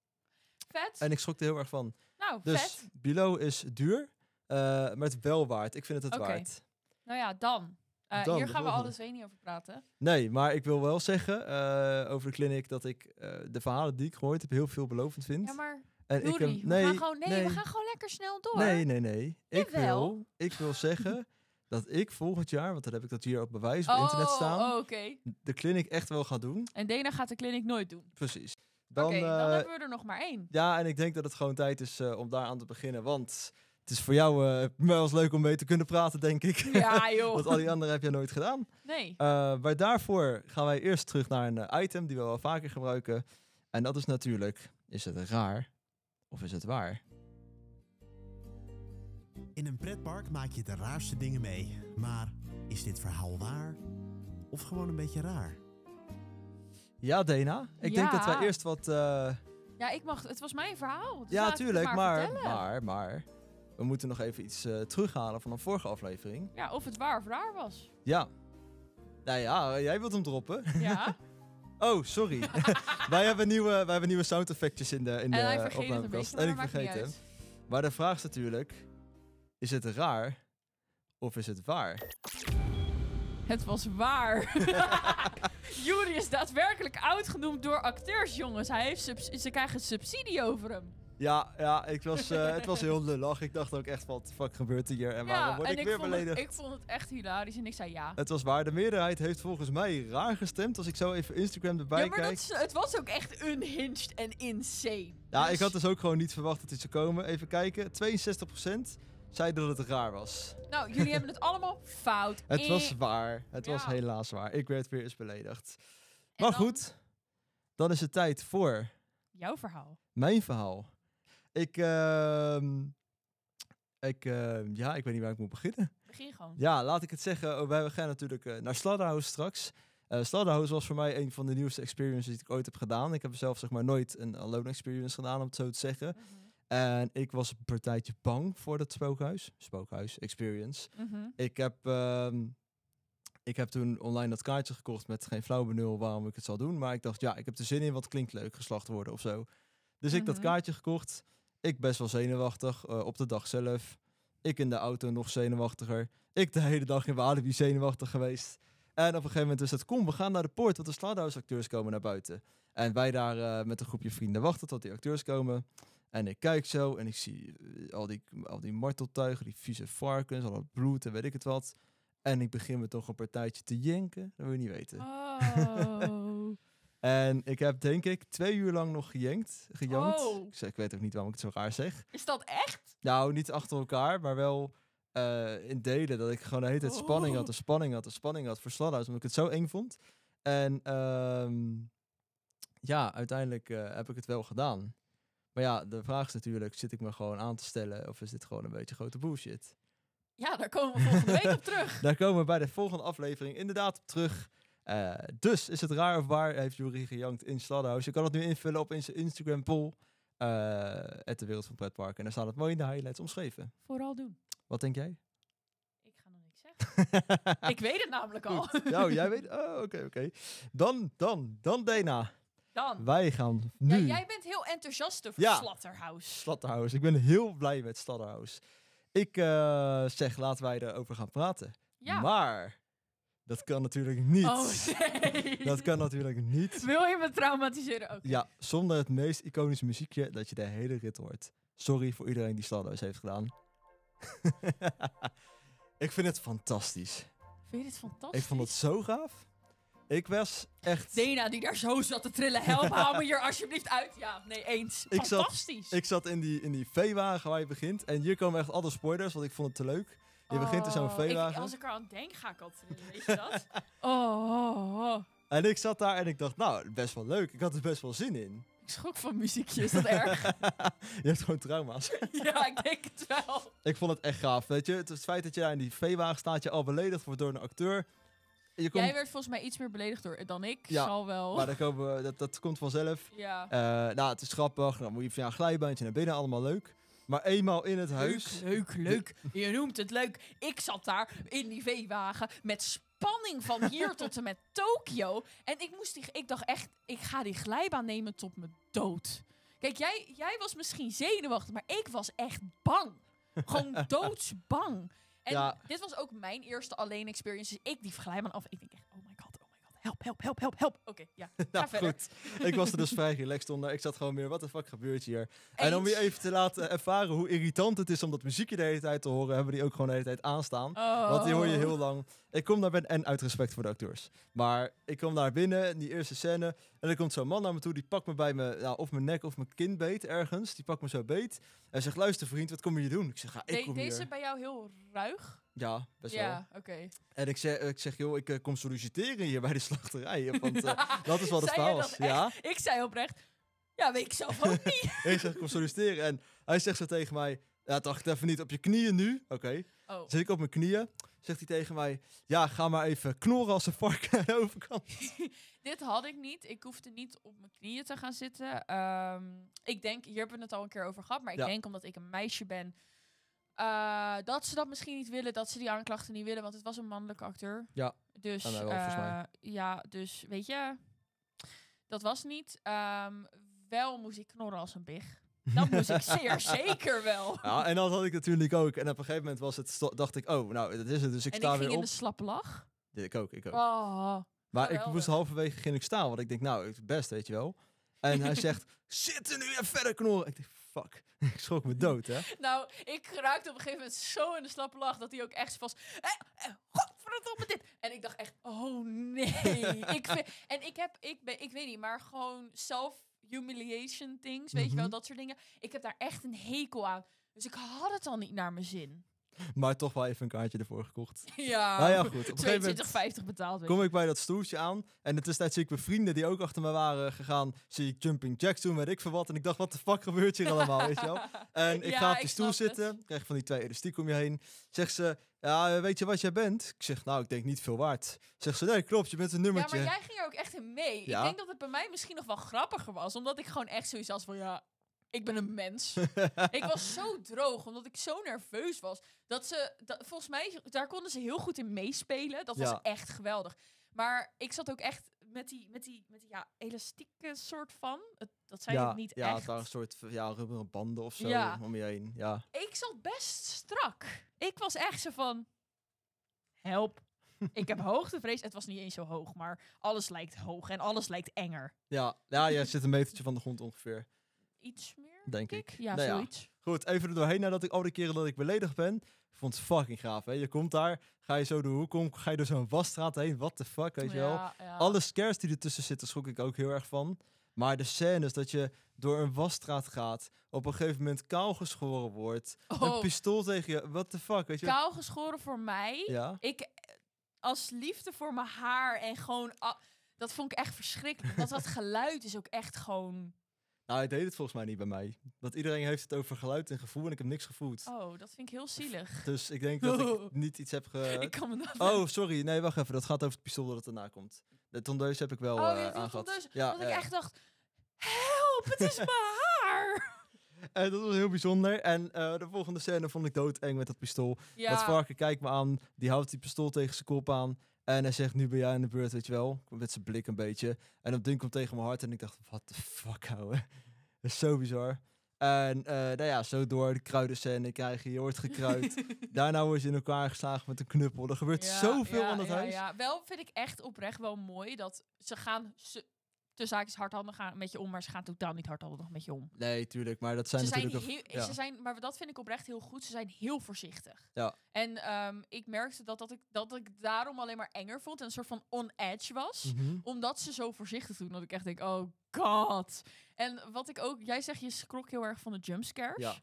C: vet.
B: En ik schrok er heel erg van.
C: nou,
B: Dus
C: vet.
B: Below is duur, eh, maar het wel waard. Ik vind het het
C: Oké.
B: waard.
C: Nou ja, dan. Eh,
B: Dan,
C: hier
B: de
C: gaan we
B: volgende.
C: alle twee niet over praten.
B: Nee, maar ik wil wel zeggen eh, over de clinic dat ik eh, de verhalen die ik gehoord heb heel veelbelovend vind.
C: Ja, maar
B: en ik
C: Juri,
B: heb-
C: we gaan gewoon, nee, we gaan gewoon lekker snel door.
B: Nee, nee, nee. Ik
C: Jawel.
B: wil, ik wil zeggen dat ik volgend jaar, want dan heb ik dat hier op bewijs op
C: oh,
B: internet staan,
C: oh, oké.
B: de clinic echt wel ga doen.
C: En Dena gaat de kliniek nooit doen.
B: Precies.
C: Oké,
B: Dan,
C: dan
B: eh,
C: hebben we er nog maar één.
B: Ja, en ik denk dat het gewoon tijd is eh, om daar aan te beginnen, want het is voor jou eh wel eens leuk om mee te kunnen praten, denk ik.
C: Ja, joh.
B: want al die anderen heb jij nooit gedaan.
C: Nee.
B: Eh, maar daarvoor gaan wij eerst terug naar een eh, item die we wel vaker gebruiken. En dat is natuurlijk, is het raar of is het waar?
D: In een pretpark maak je de raarste dingen mee. Maar is dit verhaal waar? Of gewoon een beetje raar?
B: Ja, Dena. Ik denk dat wij
C: Ja.
B: eerst wat... eh,
C: Ja, ik mag. Het was mijn verhaal. dus
B: ja,
C: laat ik het
B: tuurlijk, maar,
C: vertellen.
B: maar, maar... We moeten nog even iets eh, terughalen van een vorige aflevering.
C: Ja, of het waar of raar was.
B: Ja. Nou ja, jij wilt hem droppen.
C: Ja.
B: Oh, sorry. wij, hebben nieuwe, wij hebben nieuwe sound effectjes in de, in de
C: en hij
B: eh,
C: vergeet het een
B: opnamekast.
C: beetje,
B: en
C: maar dat
B: ik
C: maakt
B: vergeet
C: niet
B: hem.
C: uit.
B: Maar de vraag is natuurlijk, is het raar of is het waar?
C: Het was waar. Juri is daadwerkelijk uitgenoemd door acteurs, jongens. Hij heeft subs- ze krijgen subsidie over hem.
B: Ja, ja ik was, eh, het was heel lullig. Ik dacht ook echt, wat de fuck gebeurt hier? En waarom
C: ja,
B: word
C: en
B: ik, weer
C: vond
B: beledigd?
C: Het, ik vond het echt hilarisch en ik zei ja.
B: Het was waar. De meerderheid heeft volgens mij raar gestemd. Als ik zo even Instagram erbij
C: ja, maar
B: kijk.
C: dat, is- het was ook echt unhinged en insane.
B: Ja,
C: Dus-
B: ik had dus ook gewoon niet verwacht dat dit zou komen. Even kijken. 62% zei dat het raar was.
C: Nou, jullie hebben het allemaal fout.
B: Het was
C: Ik-
B: waar. Het was
C: Ja.
B: helaas waar. Ik werd weer eens beledigd.
C: en
B: Maar
C: dan
B: goed, dan is het tijd voor
C: Jouw verhaal.
B: mijn verhaal. Ik, ehm, ik, ehm, ja, ik weet niet waar ik moet beginnen.
C: Begin gewoon.
B: Ja, laat ik het zeggen. Oh, Wij gaan natuurlijk eh, naar Slaughterhouse straks. Eh Slaughterhouse was voor mij een van de nieuwste experiences die ik ooit heb gedaan. Ik heb zelf zeg maar nooit een alone experience gedaan, om het zo te zeggen.
C: Mhm.
B: En ik was een partijtje bang voor dat spookhuis. Spookhuis, experience.
C: Mhm.
B: Ik heb, ehm, ik heb toen online dat kaartje gekocht met geen flauw benul waarom ik het zal doen. Maar ik dacht, ja, ik heb er zin in, want het klinkt leuk, geslacht worden of zo. Dus ik dat
C: Mhm.
B: kaartje gekocht. Ik best wel zenuwachtig eh, op de dag zelf. Ik in de auto nog zenuwachtiger. Ik de hele dag in Walibi zenuwachtig geweest. En op een gegeven moment is dat, kom, we gaan naar de poort, want de Slaughterhouse-acteurs komen naar buiten. En wij daar eh, met een groepje vrienden wachten tot die acteurs komen. En ik kijk zo en ik zie eh, al, die, al die marteltuigen, die vieze varkens, al dat bloed en weet ik het wat. En ik begin me toch een partijtje te jenken. Dat wil je niet weten.
C: Oh.
B: En ik heb denk ik twee uur lang nog gejenkt. Gejankt.
C: Oh.
B: Ik, zeg, ik weet ook niet waarom ik het zo raar zeg.
C: Is dat echt?
B: Nou, niet achter elkaar, maar wel eh, in delen. Dat ik gewoon de hele tijd spanning had, de spanning had, de spanning had voor Slaughterhouse. Omdat ik het zo eng vond. En ehm, ja, uiteindelijk eh, heb ik het wel gedaan. Maar ja, de vraag is natuurlijk, zit ik me gewoon aan te stellen of is dit gewoon een beetje grote bullshit?
C: Ja, daar komen we volgende week op terug.
B: Daar komen we bij de volgende aflevering inderdaad op terug. Eh, dus, is het raar of waar, heeft Jury gejankt in Sladderhouse. Je kan het nu invullen op in zijn Instagram poll. eh at de wereld van pretparken. En daar staat het mooi in de highlights omschreven.
C: Vooral doen.
B: Wat denk jij?
C: Ik ga nog niks zeggen. Ik weet het namelijk al.
B: Nou, jij weet... Oh, oké, oké. Dan, dan, dan Dana.
C: Dan.
B: Wij gaan nu...
C: Ja, jij bent heel enthousiast over
B: Ja.
C: Slatterhouse.
B: Stadhouse. Ik ben heel blij met Stadhouse. Ik eh, zeg, laten wij erover gaan praten.
C: Ja.
B: Maar dat kan natuurlijk niet.
C: Oh nee.
B: Dat kan natuurlijk niet.
C: Wil je me traumatiseren ook?
B: Ja, zonder het meest iconische muziekje dat je de hele rit hoort. Sorry voor iedereen die Stadhouse heeft gedaan. ik vind het fantastisch.
C: Vind je dit fantastisch?
B: Ik vond het zo gaaf. Ik was echt...
C: Dena die daar zo zat te trillen. Help, haal me hier alsjeblieft uit. Ja, nee, eens.
B: Ik zat-
C: Fantastisch.
B: Ik zat in die, in die veewagen waar je begint. En hier komen echt alle spoilers, want ik vond het te leuk. Je begint in zo'n
C: Oh, ik-
B: veewagen.
C: Als ik er aan denk, ga ik al trillen, weet je dat? Oh, oh, oh.
B: En ik zat daar en ik dacht, nou, best wel leuk. Ik had er best wel zin in.
C: Ik schrok van muziekje, is dat erg?
B: je hebt gewoon trauma's.
C: ja, ik denk het wel.
B: ik vond het echt gaaf, weet je. Het, het feit dat je daar in die veewagen staat, je al beledigd wordt door een acteur. Je komt,
C: Jij werd volgens mij iets meer beledigd door, dan ik.
B: Ja,
C: Zal wel.
B: maar dat, komen we- dat, dat komt vanzelf.
C: ja.
B: Eh, nou, het is grappig. Dan moet je via een glijbaantje naar binnen, allemaal leuk. Maar eenmaal in het huis...
C: Leuk, leuk, leuk. Je noemt het leuk. Ik zat daar in die veewagen met spanning van hier tot en met Tokio. En ik, moest die, ik dacht echt, ik ga die glijbaan nemen tot mijn dood. Kijk, jij, jij was misschien zenuwachtig, maar ik was echt bang. Gewoon doodsbang. En
B: Ja.
C: dit was ook mijn eerste alleen experience. Dus ik die glijbaan af. Ik denk echt, oh my god, oh my god. Help, help, help, help, help. Oké, ja, ga
B: Nou,
C: verder.
B: goed. Ik was er dus vrij relaxed onder. Ik zat gewoon meer, wat de fuck gebeurt hier? En om je
C: Eens.
B: even te laten ervaren hoe irritant het is om dat muziekje de hele tijd te horen, hebben we die ook gewoon de hele tijd aanstaan. Want die hoor je
C: Oh.
B: heel lang. Ik kom daar binnen, en uit respect voor de acteurs. Maar ik kom daar binnen, in die eerste scène. En er komt zo'n man naar me toe, die pakt me bij mijn, nou, of mijn nek of mijn kin beet ergens. Die pakt me zo beet. En zegt, luister vriend, wat kom je hier doen? Ik zeg, ja, ik
C: De-
B: kom
C: deze
B: hier.
C: bij jou heel ruig?
B: Ja, best wel.
C: ja, oké.
B: En ik zeg, ik zeg joh, ik eh, kom solliciteren hier bij de slachterij. Want eh, dat is wat het
C: Zei
B: verhaal
C: jij
B: was.
C: dat echt?
B: Ja,
C: Ik zei oprecht, ja, weet ik zelf ook niet.
B: ik zeg, kom solliciteren. En hij zegt zo tegen mij, ja, dacht even niet op je knieën nu. Oké.
C: Oh.
B: Zit ik op mijn knieën. Zegt hij tegen mij, ja, ga maar even knorren als een varken aan de overkant.
C: Dit had ik niet. Ik hoefde niet op mijn knieën te gaan zitten. Ehm, ik denk, hier hebben we het al een keer over gehad, maar ik
B: Ja.
C: denk omdat ik een meisje ben, eh, dat ze dat misschien niet willen, dat ze die aanklachten niet willen, want het was een mannelijke acteur.
B: Ja.
C: Dus,
B: En hij wel, volgens mij.
C: eh, ja, dus weet je, dat was niet. Ehm, wel moest ik knorren als een big. Dat moest ik zeer zeker wel.
B: Ja, en dat had ik natuurlijk ook. En op een gegeven moment was het, sto- dacht ik, oh, nou, dat is het. Dus ik
C: en ik
B: sta
C: ging
B: weer
C: in
B: op.
C: de slappe lach.
B: Ja, Ik ook, ik ook.
C: Oh.
B: maar ik
C: geweldig.
B: moest halverwege ging ik staan, want ik denk, nou, het best, weet je wel. En hij zegt, zit er nu en verder knorren. Ik denk, fuck, ik schrok me dood, hè.
C: Nou, ik raakte op een gegeven moment zo in de slappe lach dat hij ook echt vast. Eh, eh, godverdomme dit! En ik dacht echt, oh nee. ik vind, en ik heb, ik, ben, ik weet niet, maar gewoon self-humiliation things, weet je wel,
B: Mhm.
C: dat soort dingen. Ik heb daar echt een hekel aan. Dus ik had het al niet naar mijn zin.
B: Maar toch wel even een kaartje ervoor gekocht.
C: Ja,
B: nou ja, goed. Op een gegeven moment
C: 22,50 betaald. Weet
B: kom
C: je.
B: ik bij dat stoeltje aan. En in de tussentijd zie ik mijn vrienden die ook achter me waren gegaan. Zie ik jumping jacks doen, weet ik veel wat. En ik dacht, wat de fuck gebeurt hier allemaal, weet je wel. En ik
C: Ja,
B: ga op
C: ik
B: die stoel
C: snap het.
B: zitten, krijg van die twee elastiek om je heen. Zegt ze, ja, weet je wat jij bent? Ik zeg, nou, ik denk niet veel waard. Zegt ze, nee, klopt, je bent een
C: Ja,
B: nummertje.
C: maar jij ging er ook echt in mee.
B: Ja.
C: Ik denk dat het bij mij misschien nog wel grappiger was, omdat ik gewoon echt zoiets had van ja, ik ben een mens. ik was zo droog, omdat ik zo nerveus was. Dat ze, dat, volgens mij, daar konden ze heel goed in meespelen. Dat
B: Ja.
C: was echt geweldig. Maar ik zat ook echt met die, met die, met die ja, elastieke soort van. Het- dat zijn
B: ja,
C: het niet
B: ja,
C: echt.
B: daar een soort ja, rubberen banden of zo
C: Ja.
B: om je heen. Ja.
C: Ik zat best strak. Ik was echt zo van, help. ik heb hoogtevrees. Het was niet eens zo hoog, maar alles lijkt hoog en alles lijkt enger.
B: Ja, ja, je zit een metertje van de grond ongeveer,
C: Iets meer?
B: denk ik.
C: Ja,
B: Nou
C: zoiets.
B: Goed, even er doorheen nadat ik al die keren dat ik beledigd ben. Ik vond het fucking gaaf, hè. Je komt daar, ga je zo door hoek om, ga je door zo'n wasstraat heen. What the fuck, weet je wel.
C: Ja, ja.
B: Alle scares die ertussen zitten schrok ik ook heel erg van. Maar de scènes dat je door een wasstraat gaat, op een gegeven moment kaal geschoren wordt, een
C: Oh,
B: pistool tegen je, what the fuck, weet je?
C: kaal geschoren voor mij.
B: Ja,
C: Ik, eh, als liefde voor mijn haar en gewoon... a- dat vond ik echt verschrikkelijk. Want dat geluid is ook echt gewoon...
B: Nou, hij deed het volgens mij niet bij mij. Want iedereen heeft het over geluid en gevoel en ik heb niks gevoeld.
C: Oh, dat vind ik heel zielig.
B: Dus ik denk dat ik niet iets heb ge...
C: ik kan me dat...
B: Oh, sorry. Nee, wacht even. Dat gaat over het pistool dat erna komt. De tondeus heb ik wel
C: Oh,
B: eh,
C: je viel
B: aangehad.
C: tot dus.
B: Ja,
C: dat ik
B: ja.
C: echt dacht, help, het is mijn haar.
B: En Eh, dat was heel bijzonder. En eh, de volgende scène vond ik doodeng met dat pistool.
C: Ja,
B: Dat varken kijkt me aan. Die houdt die pistool tegen zijn kop aan. En hij zegt, nu ben jij aan de beurt, weet je wel. Met zijn blik een beetje. En dat ding komt tegen mijn hart. En ik dacht, what the fuck, ouwe. Dat is zo bizar. En eh, nou ja, zo door de kruidenscène krijg je. Je wordt gekruid. Daarna word je in elkaar geslagen met een knuppel. Er gebeurt
C: Ja,
B: zoveel
C: ja,
B: aan dat
C: ja,
B: huis.
C: Ja. Wel vind ik echt oprecht wel mooi dat ze gaan... Ze, de zaak is hardhandig gaan met je om, maar ze gaan totaal niet hardhandig met je om.
B: Nee, tuurlijk. Maar dat zijn
C: ze zijn
B: natuurlijk... ook-
C: heel,
B: ja.
C: ze zijn, maar dat vind ik oprecht heel goed. Ze zijn heel voorzichtig.
B: Ja.
C: En ehm, ik merkte dat, dat, ik, dat ik daarom alleen maar enger vond en een soort van on edge was.
B: Mhm.
C: Omdat ze zo voorzichtig doen, dat ik echt denk, oh god. En wat ik ook, jij zegt je schrok heel erg van de jumpscares.
B: Ja.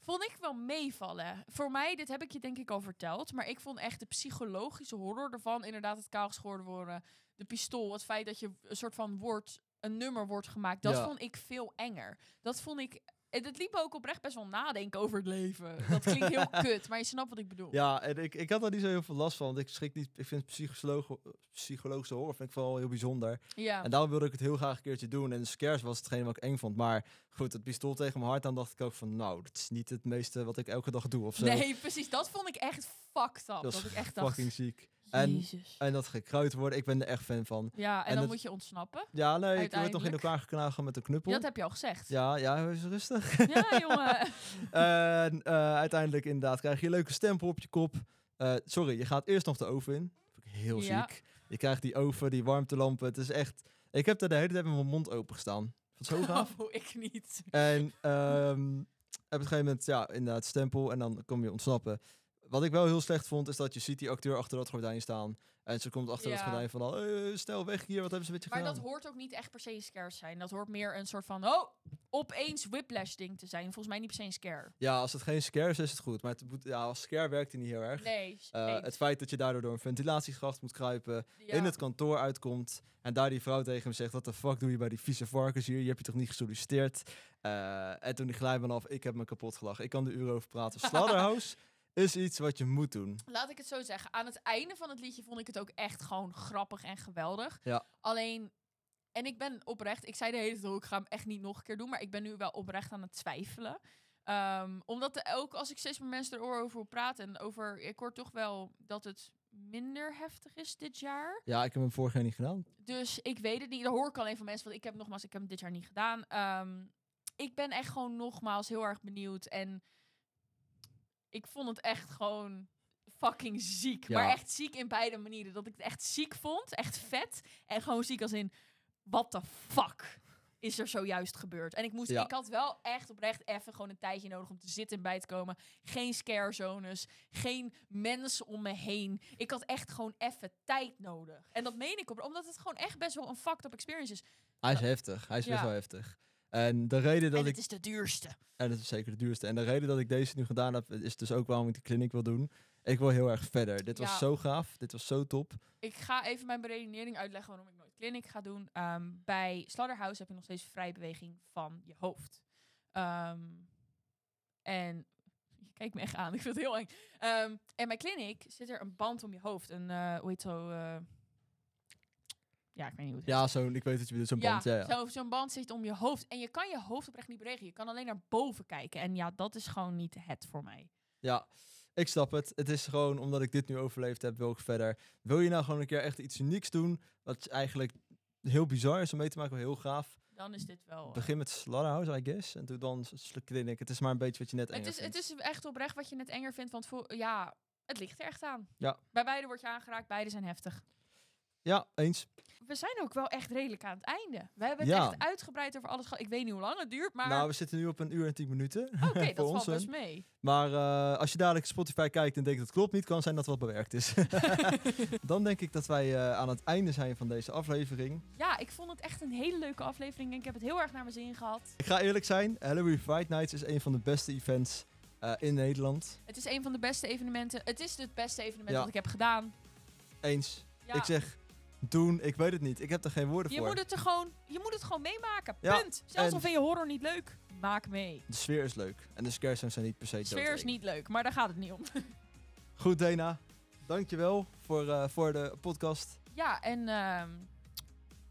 C: Vond ik wel meevallen. Voor mij, dit heb ik je denk ik al verteld, maar ik vond echt de psychologische horror ervan, inderdaad het kaal geschoren worden, de pistool, het feit dat je een soort van woord, een nummer wordt gemaakt, dat
B: Ja.
C: vond ik veel enger. Dat vond ik, en het liep me ook oprecht best wel nadenken over het leven. Dat klinkt heel kut, maar je snapt wat ik bedoel.
B: Ja, en ik, ik had daar niet zo heel veel last van. Want ik schrik niet. Ik vind psycholoog, psychologische horror vind ik vooral heel bijzonder.
C: Ja.
B: En daarom wilde ik het heel graag een keertje doen. En scares was hetgeen wat ik eng vond. Maar goed, het pistool tegen mijn hart aan dacht ik ook van... Nou, dat is niet het meeste wat ik elke dag doe of zo.
C: Nee, precies. Dat vond ik echt fucked up.
B: eh, dat
C: Dat,
B: is
C: ik echt dacht,
B: fucking ziek. En-
C: jezus.
B: En dat gekruid worden, ik ben er echt fan van.
C: Ja, en,
B: En
C: dan
B: dat-
C: moet je ontsnappen.
B: Ja, nee, ik werd nog in
C: Uiteindelijk.
B: elkaar geknagen met een knuppel.
C: Dat heb je al gezegd.
B: Ja, ja, is rustig.
C: Ja, jongen.
B: en eh, uiteindelijk inderdaad krijg je een leuke stempel op je kop. Eh, sorry, je gaat eerst nog de oven in. Vind ik heel
C: Ja.
B: ziek. Je krijgt die oven, die warmtelampen. Het is echt... Ik heb daar de hele tijd met mijn mond open gestaan. Vond het zo gaaf.
C: Oh, ik niet.
B: En ehm, op een gegeven moment, ja, inderdaad, stempel. En dan kom je ontsnappen. Wat ik wel heel slecht vond, is dat je ziet die acteur achter dat gordijn staan. En ze komt achter dat
C: Ja.
B: gordijn van, al, eh, snel weg hier, wat hebben ze met je
C: Maar
B: gedaan?
C: dat hoort ook niet echt per se een scare te zijn. Dat hoort meer een soort van, oh, opeens whiplash ding te zijn. Volgens mij niet per se een scare.
B: ja, als het geen scare is, is het goed. Maar het moet- ja, als scare werkt hij niet heel erg.
C: Nee. s-
B: Eh,
C: nee,
B: het feit dat je daardoor door een ventilatiegracht moet kruipen,
C: ja.
B: in het kantoor uitkomt en daar die vrouw tegen hem zegt, wat de fuck doe je bij die vieze varkens hier? Je hebt je toch niet gesolliciteerd? Eh, en toen die glijbaan af, ik heb me kapot gelachen. Ik kan er uren over praten. Slaughterhouse is iets wat je moet doen.
C: Laat ik het zo zeggen. Aan het einde van het liedje vond ik het ook echt gewoon grappig en geweldig.
B: Ja.
C: Alleen, en ik ben oprecht, ik zei de hele tijd, oh, ik ga hem echt niet nog een keer doen, maar ik ben nu wel oprecht aan het twijfelen. Ehm, omdat er ook als ik steeds meer mensen erover hoor praten en over, ik hoor toch wel dat het minder heftig is dit jaar.
B: Ja, ik heb hem vorig jaar niet gedaan.
C: Dus ik weet het niet. Dat hoor ik alleen van mensen. Want ik heb nogmaals, ik heb hem dit jaar niet gedaan. Ehm, ik ben echt gewoon nogmaals heel erg benieuwd. En ik vond het echt gewoon fucking ziek.
B: Ja.
C: Maar echt ziek in beide manieren. Dat ik het echt ziek vond, echt vet. En gewoon ziek als in, what the fuck is er zojuist gebeurd? En ik, moest,
B: Ja.
C: ik had wel echt oprecht even gewoon een tijdje nodig om te zitten en bij te komen. Geen scare zones, geen mensen om me heen. Ik had echt gewoon even tijd nodig. En dat meen ik op, omdat het gewoon echt best wel een fucked up experience is.
B: Hij is heftig. Hij is best
C: Ja.
B: wel heftig. En de reden dat
C: en
B: ik.
C: het is de duurste.
B: En dat is zeker de duurste. En de reden dat ik deze nu gedaan heb, is dus ook waarom ik de kliniek wil doen. Ik wil heel erg verder. Dit was
C: Ja.
B: zo gaaf. Dit was zo top.
C: Ik ga even mijn beredenering uitleggen waarom ik nooit clinic ga doen. Ehm, bij Slaughterhouse heb je nog steeds vrije beweging van je hoofd. Ehm, en je kijkt me echt aan, ik vind het heel eng. Ehm, en bij clinic zit er een band om je hoofd. Een, eh, hoe heet zo... eh, ja, ik weet niet hoe het heet.
B: Ja, zo'n. Ik weet dat je bedoelt, zo'n band. Ja, ja.
C: zo- zo'n band zit om je hoofd. En je kan je hoofd oprecht niet bewegen. Je kan alleen naar boven kijken. En ja, dat is gewoon niet het voor mij.
B: Ja, ik snap het. Het is gewoon omdat ik dit nu overleefd heb, wil ik verder. Wil je nou gewoon een keer echt iets unieks doen? Wat eigenlijk heel bizar is om mee te maken, maar heel gaaf.
C: Dan is dit wel... eh,
B: Begin met Slaughterhouse, I guess. En doe dan s- Clinic. Het is maar een beetje wat je net
C: Het
B: enger
C: is, het
B: vindt.
C: is echt oprecht wat je net enger vindt, want voor, ja, het ligt er echt aan.
B: Ja.
C: Bij beide word je aangeraakt, beide zijn heftig.
B: Ja, eens.
C: We zijn ook wel echt redelijk aan het einde. We hebben het
B: Ja.
C: echt uitgebreid over alles gehad. Ik weet niet hoe lang het duurt, maar
B: Nou, we zitten nu op een uur en tien minuten.
C: oké,
B: voor
C: dat valt
B: ons,
C: best mee.
B: Maar eh, als je dadelijk Spotify kijkt en denkt dat klopt niet, kan zijn dat wat bewerkt is. Dan denk ik dat wij eh, aan het einde zijn van deze aflevering.
C: Ja, ik vond het echt een hele leuke aflevering en ik heb het heel erg naar mijn zin gehad.
B: Ik ga eerlijk zijn, Halloween Fright Nights is een van de beste events eh, in Nederland.
C: Het is een van de beste evenementen. Het is het beste evenement
B: Ja.
C: dat ik heb gedaan.
B: Eens.
C: Ja.
B: Ik zeg doen. Ik weet het niet. Ik heb er geen woorden
C: Je
B: voor.
C: moet, het er gewoon, je moet het gewoon meemaken.
B: Ja,
C: Punt. Zelfs
B: en-
C: al vind je horror niet leuk, maak mee.
B: De sfeer is leuk. En de scare zones zijn niet per se
C: De sfeer is
B: doodeng.
C: niet leuk, maar daar gaat het niet om.
B: Goed, Dana. Dankjewel voor, eh, voor de podcast.
C: Ja, en ehm,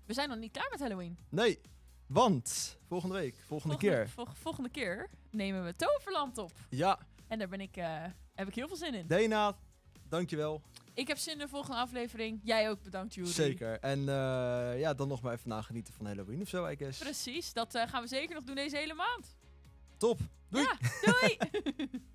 C: we zijn nog niet klaar met Halloween.
B: Nee, want volgende week, volgende, keer.
C: vol- volgende keer nemen we Toverland op.
B: Ja,
C: En daar ben ik, eh, heb ik heel veel zin in.
B: Dana, dankjewel.
C: Ik heb zin in de volgende aflevering. Jij ook bedankt, Jury.
B: Zeker. En eh, ja, dan nog maar even nagenieten van Halloween of zo, I guess.
C: Precies, dat eh, gaan we zeker nog doen deze hele maand.
B: Top. Doei.
C: Ja, doei!